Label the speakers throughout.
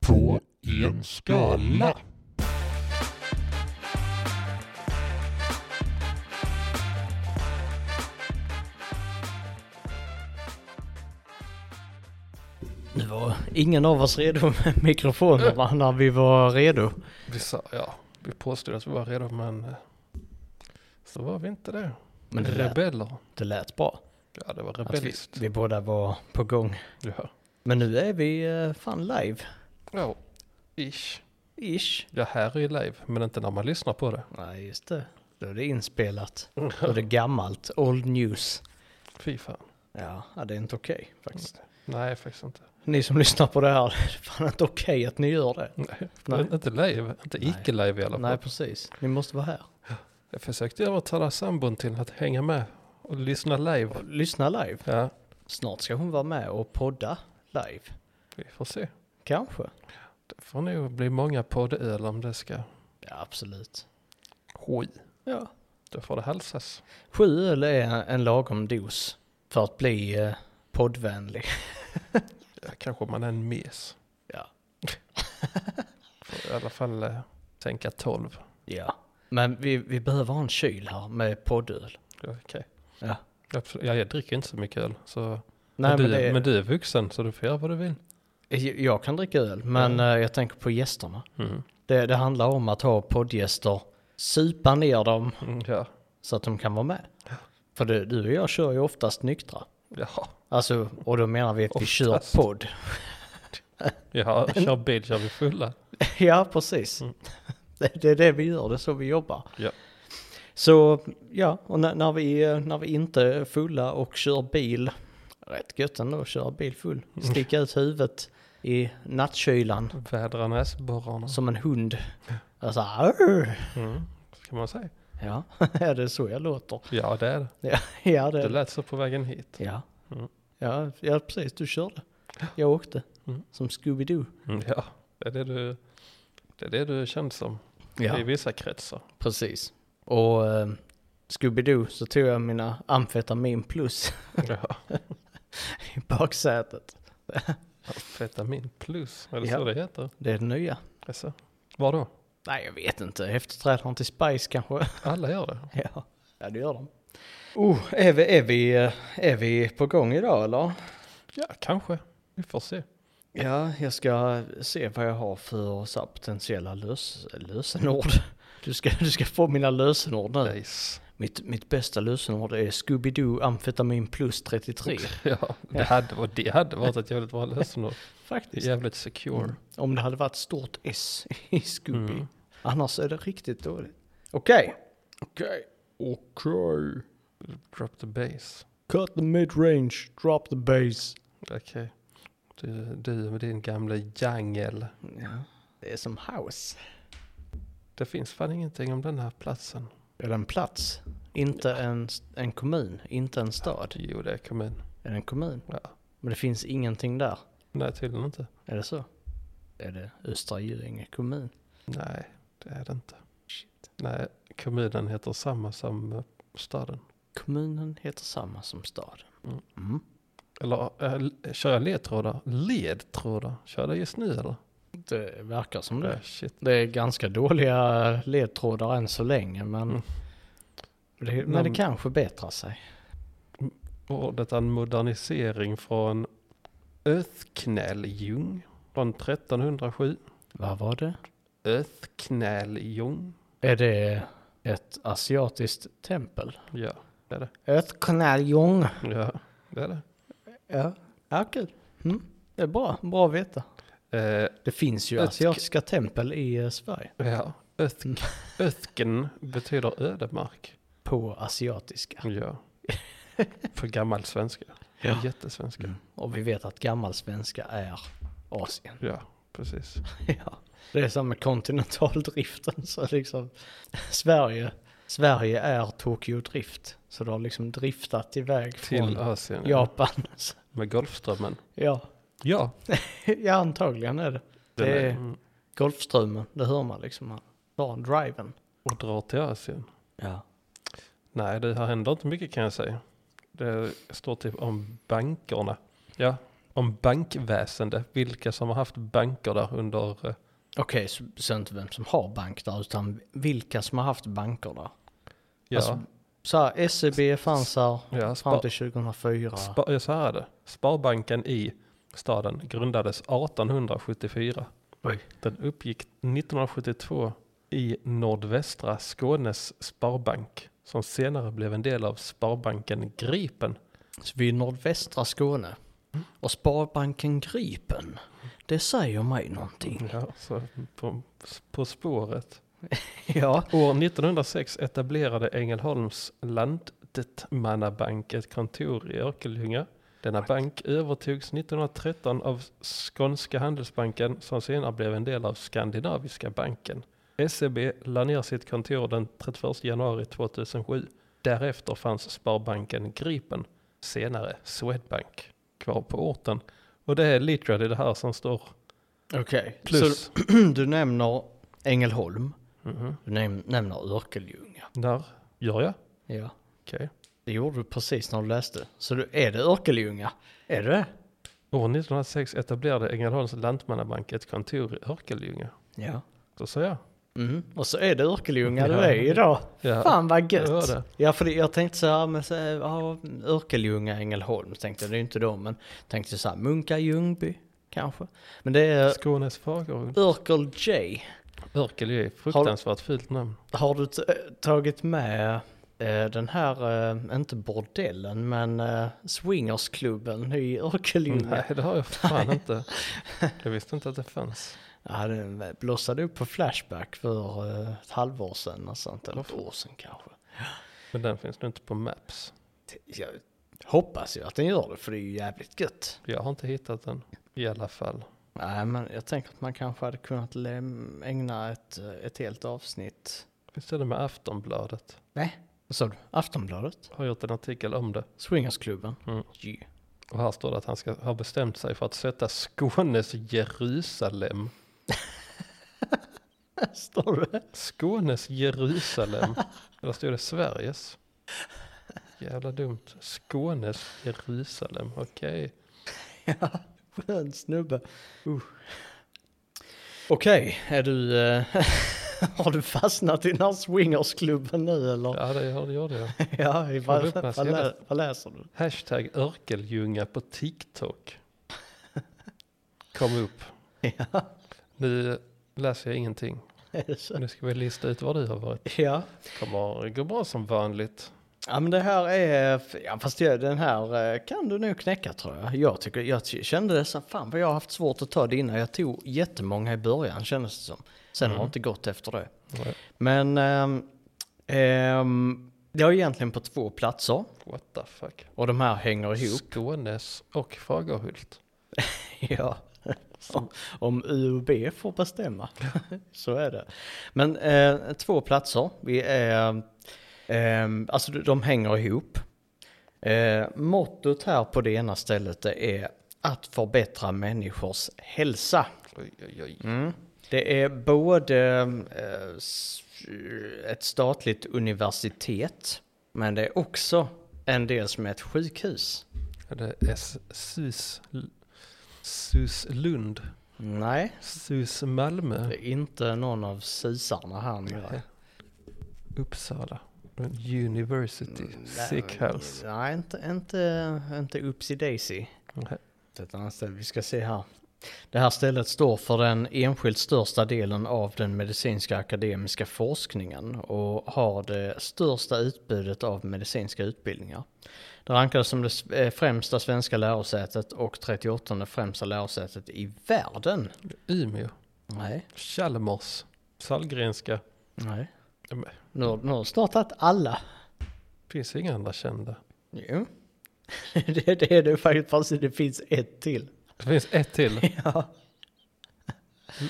Speaker 1: på en skala.
Speaker 2: Nu var ingen av oss redo med mikrofonerna när vi var redo.
Speaker 3: Vi sa, ja, vi påstod att vi var redo men eh, så var vi inte det.
Speaker 2: Men det lät,
Speaker 3: Rebeller.
Speaker 2: det lät bra.
Speaker 3: Ja, det var
Speaker 2: Att vi,
Speaker 3: rebelliskt.
Speaker 2: vi båda var på gång.
Speaker 3: Ja.
Speaker 2: Men nu är vi eh, fan live.
Speaker 3: ja, ish.
Speaker 2: Ish.
Speaker 3: Ja, här är ju live, men inte när man lyssnar på det.
Speaker 2: Nej, just det. Då är det inspelat. Då är det gammalt. Old news.
Speaker 3: Fy fan.
Speaker 2: Ja, ja, det är inte okej faktiskt.
Speaker 3: Nej, faktiskt inte.
Speaker 2: Ni som lyssnar på det här, det är fan inte okej att ni gör det.
Speaker 3: Nej.
Speaker 2: Nej.
Speaker 3: Men Inte live, inte
Speaker 2: Nej.
Speaker 3: icke-live i alla fall.
Speaker 2: Nej, precis. Ni måste vara här.
Speaker 3: Jag försökte övertala sambon till att hänga med och lyssna live.
Speaker 2: Och lyssna live.
Speaker 3: Ja,
Speaker 2: Snart ska hon vara med och podda live.
Speaker 3: vi får se.
Speaker 2: Kanske.
Speaker 3: Det får nog bli många poddöl om det ska...
Speaker 2: Ja, absolut.
Speaker 3: Oj.
Speaker 2: Ja.
Speaker 3: Då får det halsas.
Speaker 2: Sju öl är en lagom dos för att bli eh, poddvänlig.
Speaker 3: Ja, kanske man är en mes.
Speaker 2: Ja.
Speaker 3: Får i alla fall eh, tänka 12.
Speaker 2: Ja. Men vi, vi behöver ha en kyl här med poddöl.
Speaker 3: Ja, Okej.
Speaker 2: Ja.
Speaker 3: Absolut. Ja, jag dricker inte så mycket öl. Så...
Speaker 2: Nej,
Speaker 3: men,
Speaker 2: men
Speaker 3: du,
Speaker 2: det,
Speaker 3: men du är vuxen så du får göra vad du vill.
Speaker 2: Jag- Jag kan dricka öl, men eh, jag tänker på gästerna.
Speaker 3: Mm.
Speaker 2: Det, det handlar om att ha poddgäster, supa ner dem
Speaker 3: Ja.
Speaker 2: så att de kan vara med. För du, du och jag kör ju oftast nyktra.
Speaker 3: Ja.
Speaker 2: Alltså, och då menar vi att vi kör
Speaker 3: Oftast.
Speaker 2: podd.
Speaker 3: ja, kör bil kör vi fulla.
Speaker 2: ja, precis. Det, det är det vi gör, det är så vi jobbar.
Speaker 3: Mm. Ja.
Speaker 2: Så ja, och när, när, vi, eh, när vi inte är fulla och kör bil, rätt gött ändå att köra bil full,
Speaker 3: Mm.
Speaker 2: sticka ut huvudet i nattkylan
Speaker 3: Vädra näsborrarna.
Speaker 2: som en hund. Alltså, "Arr!"
Speaker 3: Mm. Kan man säga.
Speaker 2: ja, är det är så jag låter?
Speaker 3: Ja, det är det.
Speaker 2: Ja, ja det
Speaker 3: Det lät så på vägen hit.
Speaker 2: Ja.
Speaker 3: Mm.
Speaker 2: Ja, ja, precis, du körde. Jag åkte,
Speaker 3: Mm.
Speaker 2: som Scooby-Doo.
Speaker 3: Mm. Ja, det är det du, det är det du känns som i vissa kretsar.
Speaker 2: Precis. Och eh, Scooby-Doo så tog jag mina amfetamin plus
Speaker 3: Ja.
Speaker 2: i baksätet.
Speaker 3: Amfetamin plus, är det
Speaker 2: Ja.
Speaker 3: så det heter? Alltså,
Speaker 2: Det är det nya.
Speaker 3: Jaså? Var då?
Speaker 2: Nej, jag vet inte. Efterträdaren till Spice kanske.
Speaker 3: Alla gör det?
Speaker 2: ja. ja, det gör de. Oh, är vi, är, vi, eh, är vi på gång idag eller?
Speaker 3: Ja, kanske. Vi får se.
Speaker 2: Ja, jag ska se vad jag har för så här, potentiella lös, lösenord. Du ska, du ska få mina lösenord nu.
Speaker 3: Nice.
Speaker 2: Mitt, mitt bästa lösenord är Scooby-Doo amfetamin plus 33.
Speaker 3: Ja, det hade, varit- det hade varit ett jävligt bra lösenord. Det är
Speaker 2: Faktiskt.
Speaker 3: Jävligt secure.
Speaker 2: Om det hade varit stort S i Scooby.
Speaker 3: Mm.
Speaker 2: Annars är det riktigt dåligt. Okej.
Speaker 3: Okej.
Speaker 2: Okej.
Speaker 3: Drop the bass.
Speaker 2: Cut the mid-range, drop the bass.
Speaker 3: Okej. Du, du med din gamla jangel.
Speaker 2: Ja. Det är som house.
Speaker 3: Det finns fan ingenting om den här platsen.
Speaker 2: Är det en plats? Inte en, en kommun, inte en stad.
Speaker 3: Jo, det är kommun.
Speaker 2: Är det en kommun?
Speaker 3: Ja.
Speaker 2: Men det finns ingenting där.
Speaker 3: Nej, tydligen inte.
Speaker 2: Är det så? Är det Östra Göinge kommun?
Speaker 3: Nej, det är det inte. Nej, kommunen heter samma som eh, staden.
Speaker 2: Kommunen heter samma som staden.
Speaker 3: Mm.
Speaker 2: Mm.
Speaker 3: Eller äh, l- kör jag ledtrådar? Ledtrådar? Kör det just nu eller?
Speaker 2: Det verkar som det.
Speaker 3: Ah, shit.
Speaker 2: Det är ganska dåliga ledtrådar än så länge men,
Speaker 3: Mm.
Speaker 2: det, men det
Speaker 3: Men-
Speaker 2: kanske bättrar sig.
Speaker 3: Ordet är en modernisering från Öthknäljung från 1307.
Speaker 2: Vad var det?
Speaker 3: Öthknäljung.
Speaker 2: Är det ett asiatiskt tempel?
Speaker 3: Ja, det är det.
Speaker 2: Ett kanaljong.
Speaker 3: Ja, det är det.
Speaker 2: Ja, ja kul. Mm. Det är bra, bra att veta.
Speaker 3: Eh,
Speaker 2: Det finns ju
Speaker 3: Ett-
Speaker 2: asiatiska tempel i eh, Sverige.
Speaker 3: ja,
Speaker 2: Mm.
Speaker 3: öthk, öthken betyder ödemark.
Speaker 2: På asiatiska.
Speaker 3: Ja. På gammal svenska.
Speaker 2: Ja.
Speaker 3: Jättesvenska.
Speaker 2: Mm. Och vi vet att gammalsvenska är Asien.
Speaker 3: Ja, precis.
Speaker 2: Ja. Det är som med kontinentaldriften. Så liksom, Sverige, Sverige är Tokyo Drift. Så de har liksom driftat iväg från
Speaker 3: Till Asien. ja.
Speaker 2: Japan. Så,
Speaker 3: Med Golfströmmen.
Speaker 2: ja.
Speaker 3: Ja.
Speaker 2: ja, antagligen är det.
Speaker 3: Den
Speaker 2: Det
Speaker 3: är,
Speaker 2: är
Speaker 3: mm,
Speaker 2: Golfströmmen, det hör man liksom. Han tar driven.
Speaker 3: och drar till Asien.
Speaker 2: Ja.
Speaker 3: Nej, det här händer inte mycket kan jag säga. Det står typ om bankerna. Ja, om bankväsende, vilka som har haft banker där under... eh,
Speaker 2: Okej, så, så inte vem som har bank där, utan vilka som har haft banker där.
Speaker 3: Ja,
Speaker 2: Alltså, Så här, SEB fanns här
Speaker 3: ja
Speaker 2: fram
Speaker 3: spar,
Speaker 2: till 2004.
Speaker 3: spar, ja, så här är det. Sparbanken i staden grundades 1874.
Speaker 2: Oj.
Speaker 3: Den uppgick 1972 i nordvästra Skånes sparbank som senare blev en del av Sparbanken Gripen.
Speaker 2: Så vi är i nordvästra Skåne. Och Sparbanken Gripen, det säger mig någonting.
Speaker 3: Ja, så på, på spåret.
Speaker 2: Ja,
Speaker 3: År 1906 etablerade Ängelholms lantdetmannabank ett kontor i Örkelljunga. Denna bank övertogs 1913 av Skånska Handelsbanken som senare blev en del av Skandinaviska banken. SEB la ner sitt kontor den 31 januari 2007. Därefter fanns Sparbanken Gripen, senare Swedbank, kvar på orten. Och det är literally det här som står
Speaker 2: okej.
Speaker 3: plus.
Speaker 2: Så du nämner Ängelholm,
Speaker 3: Mhm.
Speaker 2: du näm- nämner Örkelljunga.
Speaker 3: Där gör jag.
Speaker 2: Ja,
Speaker 3: Okej.
Speaker 2: det gjorde du precis när du läste. Så du, är det Örkelljunga? Är det det?
Speaker 3: År 1906 etablerade Ängelholms Lantmannabank ett kontor i Örkelljunga.
Speaker 2: Ja.
Speaker 3: Så sa jag.
Speaker 2: Mm. Och så är det Örkelljunga
Speaker 3: Ja.
Speaker 2: det är idag.
Speaker 3: Ja.
Speaker 2: Fan vad
Speaker 3: det var
Speaker 2: gött.
Speaker 3: det.
Speaker 2: Ja, för det, jag tänkte så här, men så, här, ja, Örkelljunga, Ängelholm tänkte jag, det är ju inte de, men tänkte så här, Munka, Ljungby kanske. Men det är
Speaker 3: Skånes Fagerhult.
Speaker 2: Örkel J.
Speaker 3: Örkel är ett fruktansvärt fult namn.
Speaker 2: Har du t- tagit med eh, den här, eh, inte bordellen, men eh, swingersklubben i Örkelljunga?
Speaker 3: Mm, Nej, det har jag fan inte. Jag visste inte att det fanns.
Speaker 2: Ja, den blossade upp på Flashback för eh, ett halvår sedan, alltså, inte, eller ett år sedan kanske.
Speaker 3: Men den finns nu inte på Maps.
Speaker 2: Jag hoppas ju att den gör det, för det är ju jävligt gött.
Speaker 3: Jag har inte hittat den i alla fall.
Speaker 2: Nej, men jag tänker att man kanske hade kunnat läm- ägna ett, eh, ett helt avsnitt.
Speaker 3: Visst är det med Aftonbladet?
Speaker 2: Nej. Vad sa du? Aftonbladet?
Speaker 3: Har gjort en artikel om det.
Speaker 2: Swingersklubben?
Speaker 3: Mm.
Speaker 2: Yeah.
Speaker 3: Och här står det att han ska ha bestämt sig för att sätta Skånes Jerusalem.
Speaker 2: Står det?
Speaker 3: Skånes Jerusalem. Eller stod det Sveriges? Jävla dumt. Skånes Jerusalem. Okej.
Speaker 2: Skön snubbe. Uh. Okej, är du... eh, har du fastnat i den här swingersklubben nu eller?
Speaker 3: Ja, det gjorde- det gjorde jag.
Speaker 2: Ja, i
Speaker 3: du
Speaker 2: vad,
Speaker 3: upp den här
Speaker 2: vad, lä,
Speaker 3: senaste?
Speaker 2: vad läser du?
Speaker 3: Hashtag Örkeljunga på TikTok. Kom upp.
Speaker 2: Ja,
Speaker 3: Nu läser jag ingenting.
Speaker 2: är det så?
Speaker 3: Nu ska vi lista ut var du har varit.
Speaker 2: Ja.
Speaker 3: Kommer gå bra som vanligt.
Speaker 2: Ja men det här är, ja, fast det, den här eh, kan du nog knäcka tror jag. Jag, tycker, jag ty- kände det så, fan vad jag har haft svårt att ta det innan. Jag tog jättemånga i början kändes det som. Sen har det inte gått efter det.
Speaker 3: Nej,
Speaker 2: Men ehm, ehm, jag är egentligen på två platser
Speaker 3: What the fuck.
Speaker 2: och de här hänger ihop.
Speaker 3: Skånes och Fagerhult.
Speaker 2: ja. Om- Om UB får bestämma så är det. Men eh, två platser, vi är, eh, alltså de hänger ihop. Eh, mottot här på det ena stället det är att förbättra människors hälsa.
Speaker 3: Oj, oj, oj.
Speaker 2: Det är både eh, s- ett statligt universitet, men det är också en del som är ett sjukhus.
Speaker 3: Är det S- Sus... Suslund?
Speaker 2: Nej,
Speaker 3: Sus Malmö?
Speaker 2: det är inte någon av sisarna här nere.
Speaker 3: Uppsala. University.
Speaker 2: Mm,
Speaker 3: Sick house.
Speaker 2: Nej, inte, inte, inte Upsi Daisy.
Speaker 3: Nej.
Speaker 2: Det är ett annat ställe. Vi ska se här. Det här stället står för den enskilt största delen av den medicinska akademiska forskningen och har det största utbudet av medicinska utbildningar. Det rankas som det s- eh, främsta svenska lärosätet och 38 främsta lärosätet i världen.
Speaker 3: Umeå.
Speaker 2: Nej.
Speaker 3: Chalmers. Sahlgrenska.
Speaker 2: Nej.
Speaker 3: Ja, men,
Speaker 2: Nu har- nu har du startat alla.
Speaker 3: Finns inga andra kända.
Speaker 2: Jo. Det, det är det faktiskt, fast det finns ett till.
Speaker 3: Det finns ett till.
Speaker 2: Ja.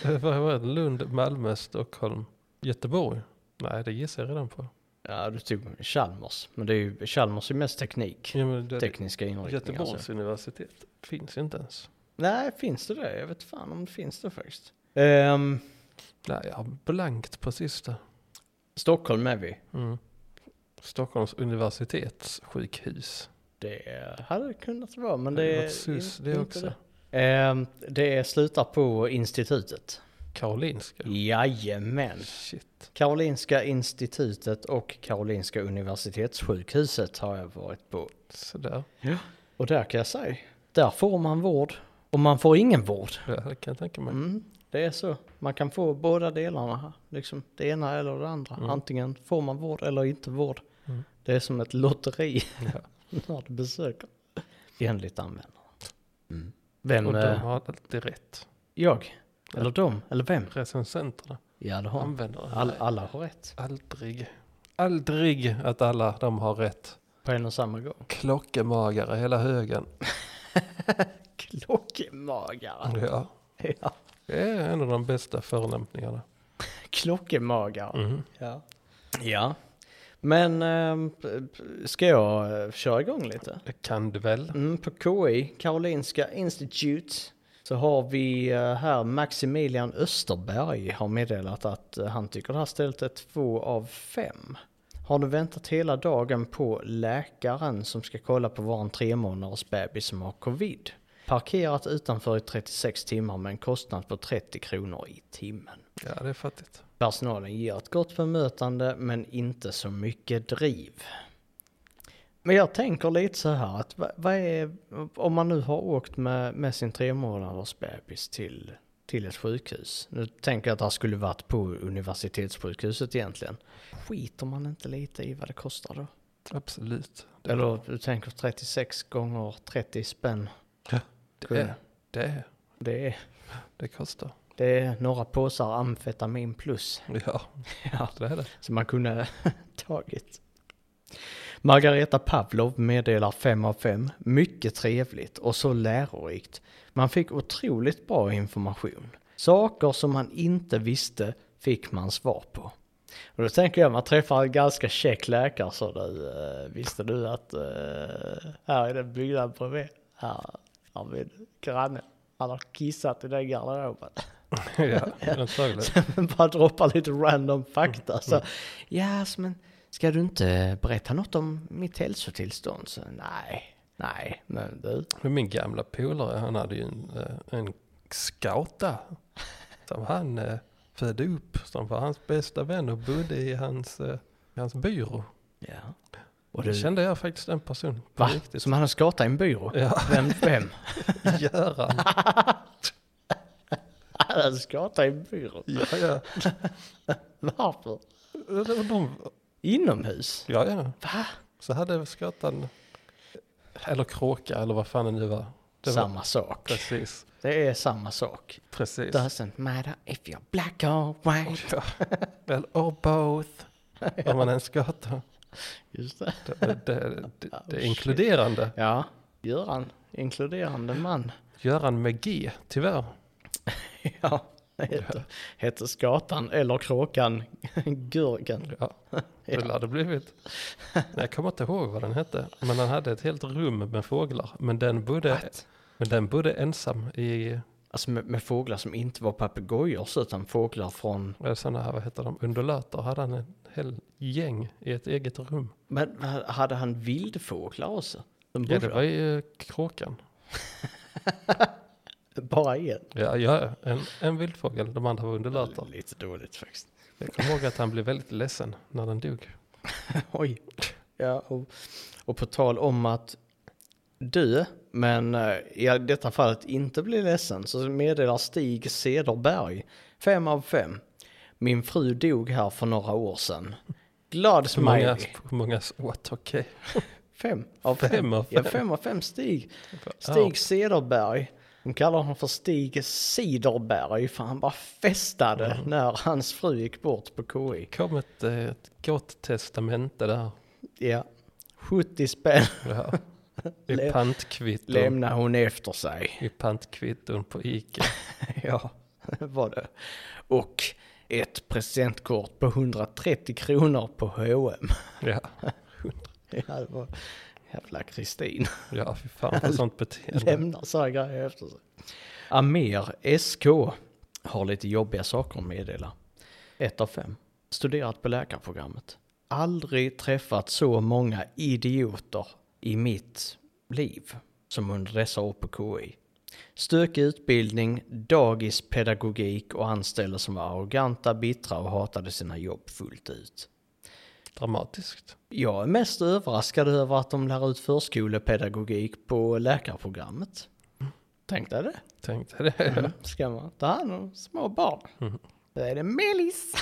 Speaker 3: L- Vad var det? Lund, Malmö, Stockholm, Göteborg. Nej, det gissar jag redan på.
Speaker 2: Ja, du tog Chalmers. Men det är ju, Chalmers är ju mest teknik.
Speaker 3: Ja, men det,
Speaker 2: Tekniska inriktningar.
Speaker 3: Göteborgs
Speaker 2: Alltså.
Speaker 3: universitet finns ju inte ens.
Speaker 2: Nej, finns det det? Jag vet fan om det finns det faktiskt. Ehm,
Speaker 3: Nej, jag har blankt på sista.
Speaker 2: Stockholm är vi.
Speaker 3: Mm. Stockholms universitetssjukhus.
Speaker 2: Det hade det kunnat vara, men
Speaker 3: Det
Speaker 2: det
Speaker 3: är
Speaker 2: är
Speaker 3: något sus
Speaker 2: in-
Speaker 3: det
Speaker 2: inte
Speaker 3: också.
Speaker 2: Eh, det slutar på institutet.
Speaker 3: Karolinska?
Speaker 2: Jajamän.
Speaker 3: Shit.
Speaker 2: Karolinska institutet och Karolinska universitetssjukhuset har jag varit på.
Speaker 3: Sådär.
Speaker 2: Och där kan jag säga, där får man vård och man får ingen vård.
Speaker 3: Ja, det kan jag tänka mig.
Speaker 2: Mm, det är så. Man kan få båda delarna. här, Liksom. Det ena eller det andra. Antingen får man vård eller inte vård.
Speaker 3: Mm.
Speaker 2: Det är som ett lotteri
Speaker 3: Ja.
Speaker 2: när du besöker. Enligt användaren. Vem?
Speaker 3: Mm. Och de
Speaker 2: Eh,
Speaker 3: har alltid rätt.
Speaker 2: jag? Eller de? Eller vem?
Speaker 3: Recensenterna,
Speaker 2: Ja, det har de.
Speaker 3: användare.
Speaker 2: All, alla har rätt.
Speaker 3: Aldrig. Aldrig att alla de har rätt.
Speaker 2: På en och samma gång.
Speaker 3: Klockemagare hela högen.
Speaker 2: Klockemagare.
Speaker 3: Ja.
Speaker 2: Ja.
Speaker 3: Det är en av de bästa förlämpningarna.
Speaker 2: Klockemagare.
Speaker 3: Mm.
Speaker 2: Ja. ja. Men eh, ska jag eh, köra igång lite?
Speaker 3: Det kan du väl?
Speaker 2: Mm, på KI, Karolinska Institute, så har vi eh, här Maximilian Österberg har meddelat att eh, han tycker det här stället är två av fem. Har du väntat hela dagen på läkaren som ska kolla på varan tre månaders bebis som har covid? Parkerat utanför i 36 timmar med en kostnad på 30 kronor i timmen.
Speaker 3: Ja, det är fattigt.
Speaker 2: Personalen ger ett gott bemötande men inte så mycket driv. Men jag tänker lite så här att vad, vad är, om man nu har åkt med, med sin tre månaders bebis till, till ett sjukhus. Nu tänker jag att det här skulle varit på universitetssjukhuset egentligen. Skiter man inte lite i vad det kostar då?
Speaker 3: Absolut. Det,
Speaker 2: Eller du tänker 36 gånger 30 spänn.
Speaker 3: det, är, det, är,
Speaker 2: Det är,
Speaker 3: det kostar.
Speaker 2: det är några påsar amfetamin plus.
Speaker 3: Ja,
Speaker 2: Ja.
Speaker 3: det är det.
Speaker 2: som man kunde tagit. Margareta Pavlov meddelar 5 av 5. Mycket trevligt och så lärorikt. Man fick otroligt bra information. Saker som man inte visste fick man svar på. Och då tänker jag, man träffar en ganska käck läkare så du, eh, visste du att eh, här är den byggnaden bredvid, här har min granne, han har kissat i den garderoben
Speaker 3: ja, antagligen.
Speaker 2: bara droppar lite random fakta. Så, ja, så men ska du inte berätta något om mitt hälsotillstånd? Så, nej, nej, men du.
Speaker 3: Men Min gamla polare, han hade ju en, eh, en skauta som han eh, födde upp, som var hans bästa vän och bodde i hans, eh, i hans byrå.
Speaker 2: Ja.
Speaker 3: Och
Speaker 2: Och
Speaker 3: det
Speaker 2: du,
Speaker 3: kände jag faktiskt den personen på
Speaker 2: va?
Speaker 3: riktigt.
Speaker 2: Som han har skatat i en byrå?
Speaker 3: Ja,
Speaker 2: Vem? Vem?
Speaker 3: Göran.
Speaker 2: Han har skatat i en byrå?
Speaker 3: Ja, ja.
Speaker 2: Varför?
Speaker 3: De,
Speaker 2: Inomhus?
Speaker 3: ja, ja.
Speaker 2: Va?
Speaker 3: Så hade skatan, eller kråka eller vad fan det nu var. Det var
Speaker 2: samma sak.
Speaker 3: precis,
Speaker 2: Det är samma sak.
Speaker 3: precis.
Speaker 2: Doesn't matter if you're black or white.
Speaker 3: Ja. Well, or both. Om man är en skata.
Speaker 2: Just det.
Speaker 3: Det, det, det, det
Speaker 2: Oh, shit.
Speaker 3: är inkluderande.
Speaker 2: Ja, Göran. Inkluderande man.
Speaker 3: Göran med G, tyvärr.
Speaker 2: Ja, det heter, heter skatan eller kråkan Gurgen.
Speaker 3: Ja, det lär det blivit. Nej, Jag kommer inte ihåg vad den hette, men han hade ett helt rum med fåglar. Men den bodde, men den bodde ensam i
Speaker 2: Alltså med, med fåglar som inte var papegojor utan fåglar från...
Speaker 3: sådana eh, här, vad heter de, undulater. Hade han en hel gäng i ett eget rum.
Speaker 2: Men vad- hade han vildfåglar också? De
Speaker 3: Ja,
Speaker 2: bodde
Speaker 3: det var ju eh, kråkan.
Speaker 2: bara en.
Speaker 3: Ja, ja en, en vildfågel, de andra var undulater.
Speaker 2: Lite dåligt faktiskt.
Speaker 3: Jag kommer ihåg att han blev väldigt ledsen när den dog.
Speaker 2: Oj. Ja, och, och på tal om att dö, men eh, i detta fallet inte bli ledsen, så meddelar Stig Cederberg, fem av fem. Min fru dog här för några år sedan. Glad
Speaker 3: Hur många,
Speaker 2: smiley.
Speaker 3: hur många åt, okej.
Speaker 2: Fem av fem.
Speaker 3: Fem av
Speaker 2: Ja,
Speaker 3: fem.
Speaker 2: fem av fem Stig.
Speaker 3: Ja.
Speaker 2: Stig Cederberg. De kallar honom för Stig Siderberg för han bara festade när hans fru gick bort på KI.
Speaker 3: kom ett, eh, ett gott testamente där.
Speaker 2: Ja. 70 spänn
Speaker 3: Ja. I
Speaker 2: Lä-
Speaker 3: pantkvitton.
Speaker 2: lämnade hon efter sig.
Speaker 3: I pantkvitton på Ica.
Speaker 2: Ja, var det. Och ett presentkort på 130 kronor på H&M.
Speaker 3: Ja,
Speaker 2: Ja, det var jävla Kristin.
Speaker 3: ja fy fan för sånt beteende.
Speaker 2: lämnar sådana grejer efter sig. Amer SK har lite jobbiga saker att meddela. Ett av fem. Studerat på läkarprogrammet. Aldrig träffat så många idioter i mitt liv som under dessa år på KI. Stökig utbildning, dagispedagogik och anställda som var arroganta, bittra och hatade sina jobb fullt ut.
Speaker 3: Dramatiskt.
Speaker 2: Jag är mest överraskad över att de lär ut förskolepedagogik på läkarprogrammet. Tänk dig det.
Speaker 3: Tänkte det.
Speaker 2: Ska man ta hand om små barn.
Speaker 3: Mhm.
Speaker 2: Då är det mellis.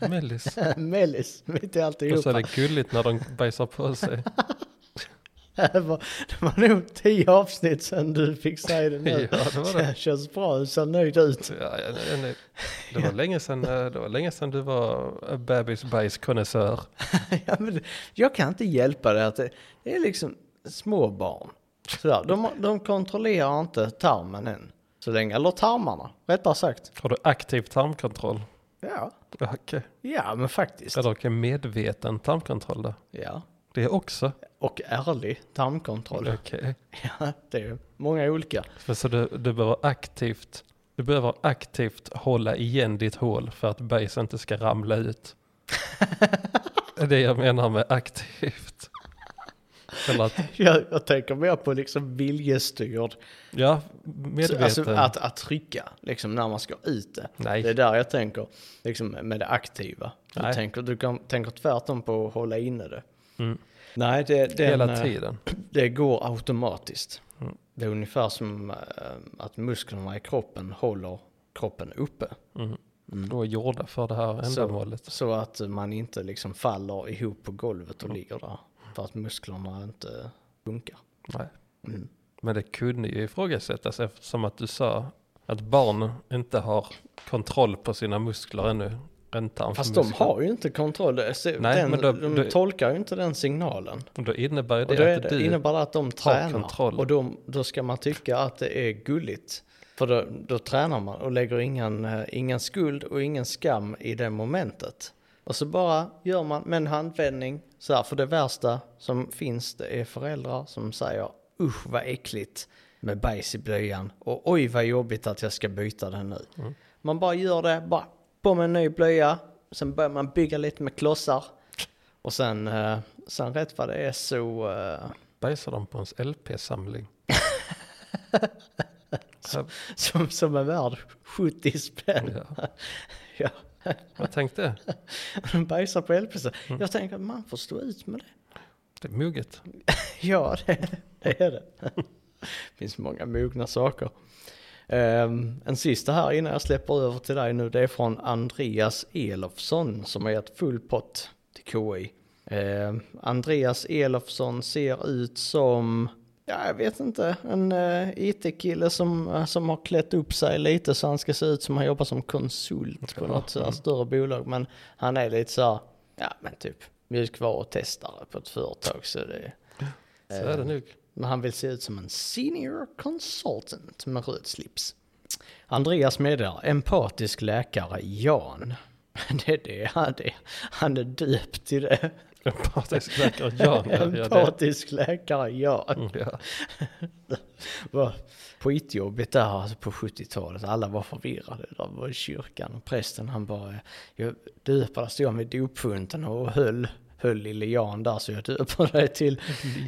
Speaker 3: Mellis.
Speaker 2: mellis, mitt
Speaker 3: Och
Speaker 2: i
Speaker 3: så är
Speaker 2: alltihopa.
Speaker 3: det gulligt när de bajsar på sig.
Speaker 2: Det var, det var nog tio avsnitt sedan du fick säga det
Speaker 3: Ja,
Speaker 2: nu.
Speaker 3: det var det.
Speaker 2: Det känns bra, du ser nöjd ut.
Speaker 3: Ja, jag är nöjd. det var länge sedan, eh, det var länge sedan du var bebisbajskonnässör.
Speaker 2: Ja, men det- jag kan inte hjälpa det att det, det är liksom små barn. Sådär, de, de kontrollerar inte tarmen än. Så länge, eller tarmarna, rättare sagt.
Speaker 3: Har du aktiv tarmkontroll?
Speaker 2: Ja,
Speaker 3: Ja, Okej.
Speaker 2: ja men faktiskt.
Speaker 3: Eller okej, medveten tarmkontroll då?
Speaker 2: Ja.
Speaker 3: Det också?
Speaker 2: Och ärlig tarmkontroll.
Speaker 3: Okej.
Speaker 2: Ja, det är många olika.
Speaker 3: För Så du, du behöver aktivt du behöver aktivt hålla igen ditt hål för att bajs inte ska ramla ut. Det är det jag menar med aktivt. Eller att,
Speaker 2: Jag, jag tänker mer på liksom viljestyrd.
Speaker 3: ja, eh. medveten.
Speaker 2: Alltså att, att trycka, liksom när man ska ut det.
Speaker 3: Nej,
Speaker 2: Det är där jag tänker, liksom med det aktiva. Du
Speaker 3: Nej.
Speaker 2: tänker, du kan, tänker tvärtom på att hålla inne det.
Speaker 3: Mm.
Speaker 2: Nej, det, den,
Speaker 3: hela
Speaker 2: eh,
Speaker 3: tiden.
Speaker 2: det går automatiskt.
Speaker 3: Mm.
Speaker 2: Det är ungefär som eh, att musklerna i kroppen håller kroppen uppe.
Speaker 3: Mm. Då är gjorda för det här
Speaker 2: Så-
Speaker 3: ändamålet.
Speaker 2: Så att man inte liksom faller ihop på golvet och ligger där. För att musklerna inte funkar.
Speaker 3: Nej.
Speaker 2: Mm.
Speaker 3: Men det kunde ju ifrågasättas eftersom att du sa att barn inte har kontroll på sina muskler ännu. Räntan
Speaker 2: Fast de har ju inte kontroll. Det- se-
Speaker 3: Nej,
Speaker 2: den,
Speaker 3: men då-
Speaker 2: de
Speaker 3: då-
Speaker 2: tolkar ju inte den signalen.
Speaker 3: Då innebär ju
Speaker 2: Och då
Speaker 3: det
Speaker 2: är
Speaker 3: att
Speaker 2: det,
Speaker 3: du...
Speaker 2: innebär det att de tränar.
Speaker 3: kontroll.
Speaker 2: Och de, då ska man tycka att det är gulligt. För då, då tränar man och lägger ingen, eh, ingen skuld och ingen skam i det momentet. Och så bara gör man med en handvändning. Så här, för det värsta som finns det är föräldrar som säger usch vad äckligt med bajs i blöjan. Och oj vad jobbigt att jag ska byta den nu. Man bara gör det, bara på med en ny blöja. Sen börjar man bygga lite med klossar. Och sen, eh, sen rätt vad det är så... eh,
Speaker 3: bajsar de på ens LP-samling. ja,
Speaker 2: Som, som är värd 70 spänn.
Speaker 3: ja.
Speaker 2: Ja.
Speaker 3: Jag tänkte,
Speaker 2: De bajsar på LPC. Jag tänker att man får stå ut med det.
Speaker 3: det är moget.
Speaker 2: Ja, det, det är det. Det finns många mogna saker. Ehm, en sista här innan jag släpper över till dig nu. Det är från Andreas Elofsson som har gett full pott till KI. Ehm, Andreas Elofsson ser ut som, ja, jag vet inte, en eh, IT-kille som, eh, som har klätt upp sig lite så han ska se ut som han jobbar som konsult på
Speaker 3: Ja,
Speaker 2: något sådant
Speaker 3: mm.
Speaker 2: större bolag. Men han är lite så här, ja men typ mjukvarutestare på ett företag så
Speaker 3: Så
Speaker 2: det
Speaker 3: är det
Speaker 2: Ehm,
Speaker 3: nog.
Speaker 2: men han vill se ut som en senior consultant med röd slips. Andreas meddelar, empatisk läkare Jan. Det är det han är. Han är döpt till det.
Speaker 3: Empatisk läkare Jan gör gör det.
Speaker 2: empatisk läkare
Speaker 3: Mm,
Speaker 2: Jan.
Speaker 3: Ja.
Speaker 2: Vad skitjobbigt där alltså på 70-talet. Alla var förvirrade. Där var i kyrkan och prästen han bara, jag döper dig, stod han vid dopfunten och höll, höll lille Jan där så jag döper dig till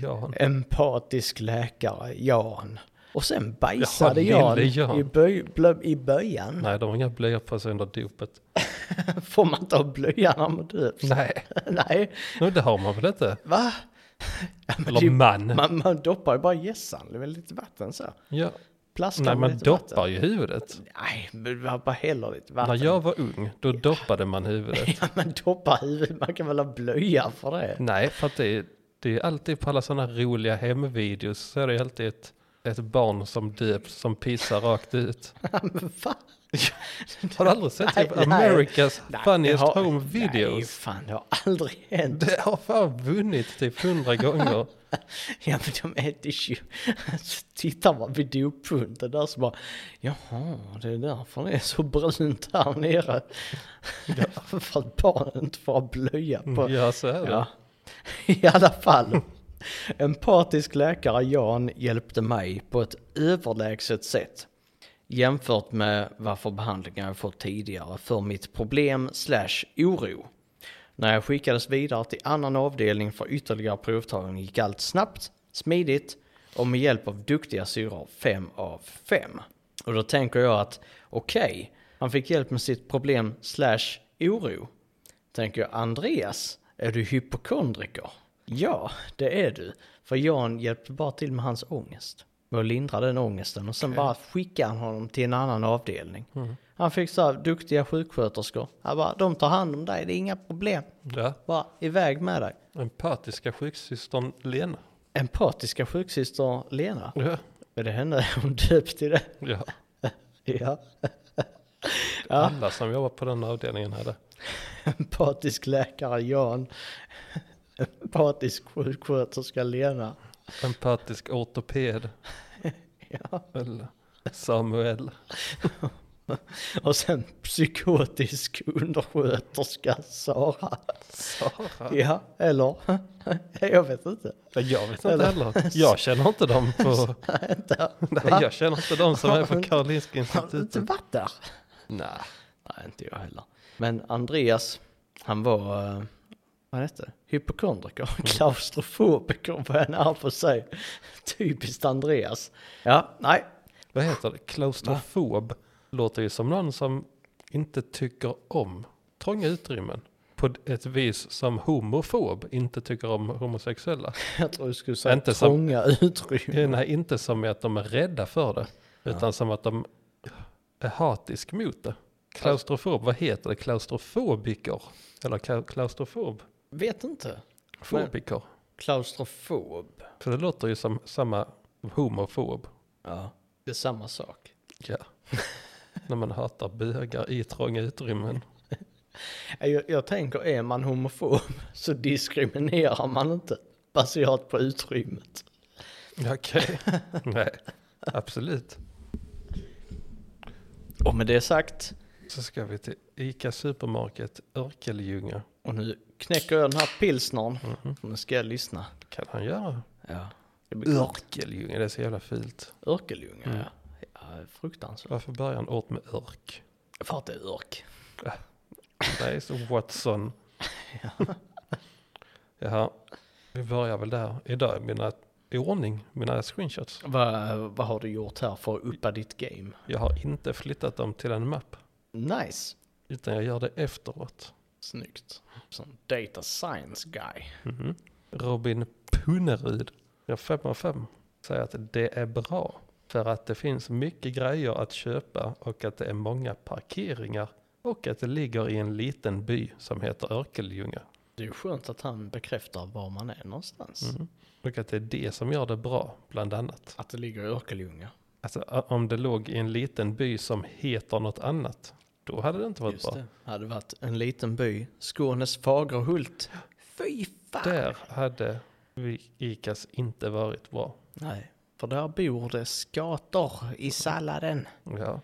Speaker 3: Jan.
Speaker 2: empatisk läkare Jan. Och sen bajsade
Speaker 3: Jaha,
Speaker 2: Jan,
Speaker 3: lille Jan.
Speaker 2: i, böj, blö, i böjan.
Speaker 3: Nej, de har inga blöjor på sig under dopet.
Speaker 2: Får man ta blöjan när man döps?
Speaker 3: Nej,
Speaker 2: Nej,
Speaker 3: men det har man väl inte?
Speaker 2: va? Ja, men det-
Speaker 3: Eller man.
Speaker 2: man, man doppar ju bara gässan, det är väl lite vatten så.
Speaker 3: Ja.
Speaker 2: Plaskar
Speaker 3: Nej,
Speaker 2: med
Speaker 3: man
Speaker 2: lite
Speaker 3: doppar
Speaker 2: vatten.
Speaker 3: ju huvudet.
Speaker 2: Nej, men man bara häller lite vatten.
Speaker 3: När jag var ung, då doppade man huvudet.
Speaker 2: Ja, men doppa huvudet, man kan väl ha blöja för det?
Speaker 3: Nej, för att det är, det är alltid på alla sådana roliga hemvideos så är det alltid ett, ett barn som döps som pissar rakt ut.
Speaker 2: men va?
Speaker 3: Har du aldrig sett typ
Speaker 2: Nej, nej.
Speaker 3: America's
Speaker 2: Nej, det
Speaker 3: funniest
Speaker 2: har-
Speaker 3: home
Speaker 2: Nej,
Speaker 3: videos?
Speaker 2: fan, det har aldrig hänt.
Speaker 3: Det har fan vunnit typ hundra gånger.
Speaker 2: Ja men de alltså, är inte tjuv... Så tittar man vid dopfunten där så bara Jaha, det är därför det är så brunt här nere. För att barnen inte får ha blöja på.
Speaker 3: Ja, så är det.
Speaker 2: Ja. I alla fall. Empatisk läkare Jan hjälpte mig på ett överlägset sätt. Jämfört med vad för behandlingar jag fått tidigare för mitt problem slash oro. När jag skickades vidare till annan avdelning för ytterligare provtagning gick allt snabbt, smidigt och med hjälp av duktiga syror 5 av 5. Och då tänker jag att okej, han fick hjälp med sitt problem slash oro. Tänker jag Andreas, är du hypokondriker? Ja, det är du. För Jan hjälpte bara till med hans ångest. Med att lindra den ångesten och sen bara skickade han honom till en annan avdelning. Han fick så här duktiga sjuksköterskor. Han bara, de tar hand om dig, det är inga problem.
Speaker 3: Ja,
Speaker 2: Bara iväg med dig.
Speaker 3: empatiska sjuksystern Lena.
Speaker 2: Empatiska sjuksyster Lena.
Speaker 3: Ja,
Speaker 2: Är det henne hon döpt till det?
Speaker 3: ja.
Speaker 2: Ja.
Speaker 3: alla som jobbar på den avdelningen hade.
Speaker 2: Empatisk läkare Jan. Empatisk sjuksköterska Lena.
Speaker 3: Empatisk ortoped.
Speaker 2: Ja.
Speaker 3: Eller Samuel.
Speaker 2: Och sen psykotisk undersköterska Sara.
Speaker 3: Sara.
Speaker 2: Ja, eller? Jag vet inte.
Speaker 3: Ja, Jag vet inte
Speaker 2: Eller-
Speaker 3: heller. Jag känner inte dem
Speaker 2: Oh.
Speaker 3: på...
Speaker 2: Inte,
Speaker 3: Nej, jag känner inte dem som är på Karolinska
Speaker 2: har du inte
Speaker 3: institutet.
Speaker 2: varit där?
Speaker 3: Nej.
Speaker 2: Nej, inte jag heller. Men Andreas, han var, eh, vad hette det? Hypokondriker, klaustrofobiker var han är på sig. Typiskt Andreas. Ja, nej.
Speaker 3: Vad heter det? Klaustrofob. Låter ju som någon som inte tycker om trånga utrymmen. På ett vis som homofob inte tycker om homosexuella.
Speaker 2: Jag tror du skulle säga
Speaker 3: Inte som-
Speaker 2: trånga utrymmen.
Speaker 3: Eh, Nej, inte som att de är rädda för det. Utan som att de är hatisk mot det. Klaustrofob, vad heter det? Klaustrofobiker? Eller ka- klaustrofob?
Speaker 2: Vet inte.
Speaker 3: Fobiker.
Speaker 2: Klaustrofob.
Speaker 3: För det låter ju som samma homofob.
Speaker 2: Ja. Det är samma sak.
Speaker 3: Ja. När man hatar bögar i trånga utrymmen.
Speaker 2: Nej, Jag, jag tänker, är man homofob så diskriminerar man inte baserat på utrymmet.
Speaker 3: Okej. Nej, absolut.
Speaker 2: Och med det sagt,
Speaker 3: Så ska vi till Ica Supermarket Örkelljunga.
Speaker 2: och nu knäcker jag den här pilsnern. Nu ska jag lyssna.
Speaker 3: Kan han göra?
Speaker 2: Ja. Det blir gott.
Speaker 3: Örkelljunga, det är så jävla fult.
Speaker 2: Örkeljunga,
Speaker 3: Mm.
Speaker 2: ja. ja. Fruktansvärt.
Speaker 3: Varför börjar han åt med örk?
Speaker 2: För att det är örk.
Speaker 3: Nej, så Watson. Jaha, vi börjar väl där. Idag är mina i ordning, mina screenshots.
Speaker 2: Vad, vad har du gjort här för att uppa ditt game?
Speaker 3: Jag har inte flyttat dem till en mapp,
Speaker 2: Nice.
Speaker 3: utan jag gör det efteråt.
Speaker 2: Snyggt. Som data science guy.
Speaker 3: Mhm. Robin Punnerud, jag 5 av 5, säger att det är bra. För att det finns mycket grejer att köpa och att det är många parkeringar. Och att det ligger i en liten by som heter Örkeljunga.
Speaker 2: Det är ju skönt att han bekräftar var man är någonstans.
Speaker 3: Mhm. Och att det är det som gör det bra, bland annat.
Speaker 2: Att det ligger i Örkelljunga.
Speaker 3: Alltså ö- om det låg i en liten by som heter något annat, då hade det inte varit
Speaker 2: Just
Speaker 3: bra.
Speaker 2: det. Hade varit en liten by, Skånes Fagerhult. Fy fan!
Speaker 3: Där hade vi ICAs inte varit bra.
Speaker 2: Nej, för där bor det skator i salladen.
Speaker 3: Ja.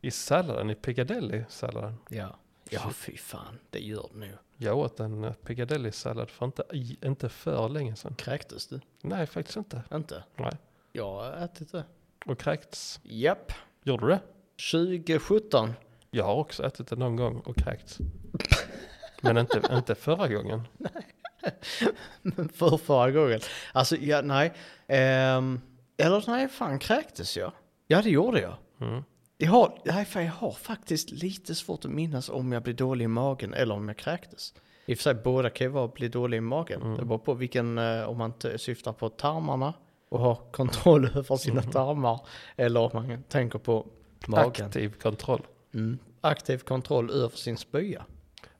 Speaker 3: I salladen, i Piccadilly-salladen.
Speaker 2: Ja. Ja, fy fan. Det gör det nu.
Speaker 3: Jag åt en eh, Piccadilly-sallad för inte, i- inte för länge sedan.
Speaker 2: Kräktes du?
Speaker 3: Nej, faktiskt inte.
Speaker 2: Inte?
Speaker 3: Nej.
Speaker 2: Jag har ätit det.
Speaker 3: Och kräkts.
Speaker 2: Japp.
Speaker 3: Gjorde du det?
Speaker 2: 2017.
Speaker 3: Jag har också ätit det någon gång och kräkts. Men inte, inte förra gången.
Speaker 2: För förra gången. Alltså, ja, nej. Ehm, eller nej, fan kräktes jag? Ja, det gjorde jag.
Speaker 3: Mm.
Speaker 2: Jag har, nej, fan, jag har faktiskt lite svårt att minnas om jag blev dålig i magen eller om jag kräktes. I och för sig, båda kan ju vara att bli dålig i magen. Det beror på vilken, eh, om man t- syftar på tarmarna och har kontroll över sina tarmar. Eller om man tänker på magen.
Speaker 3: Aktiv kontroll.
Speaker 2: Mm. Aktiv kontroll över sin spya.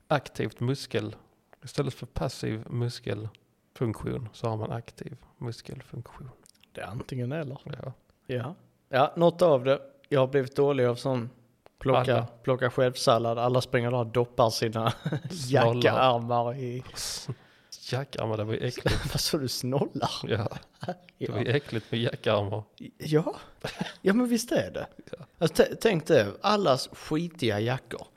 Speaker 3: aktivt muskel. Istället för passiv muskelfunktion så har man aktiv muskelfunktion.
Speaker 2: Det är antingen eller.
Speaker 3: Ja.
Speaker 2: Ja. ja, något av det. Jag har blivit dålig av sån plocka,
Speaker 3: Alla.
Speaker 2: plocka självsallad. Alla springer där och doppar sina
Speaker 3: Snollar.
Speaker 2: jackaarmar i...
Speaker 3: Jackarmar, det var ju äckligt.
Speaker 2: Vad sa du, snollar?
Speaker 3: Ja, det var
Speaker 2: Ja.
Speaker 3: ju äckligt med jackarmar.
Speaker 2: ja, ja men visst är det. Alltså, t- tänk det, allas skitiga jackor.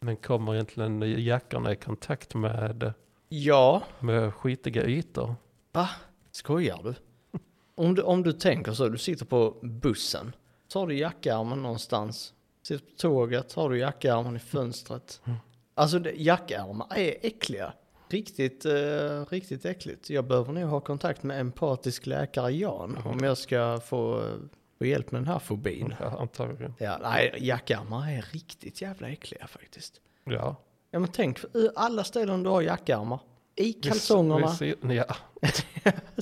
Speaker 3: Men kommer egentligen jackarna i kontakt med,
Speaker 2: Ja,
Speaker 3: med skitiga ytor?
Speaker 2: va? Skojar du? Om du, om du tänker så, du sitter på bussen, så har du jackarmen någonstans. Sitter på tåget, har du jackarmen i fönstret. Alltså det, jackärmar är äckliga. Riktigt, eh, riktigt äckligt. Jag behöver nog ha kontakt med empatisk läkare Jan om jag ska få, eh, få hjälp med den här fobin.
Speaker 3: Ja, antagligen.
Speaker 2: Ja, nej, jackarmar är riktigt jävla äckliga faktiskt.
Speaker 3: Ja.
Speaker 2: Ja men tänk, i alla ställen du har jackarmar. I
Speaker 3: Vi-
Speaker 2: kalsongerna.
Speaker 3: vi ser- Ja,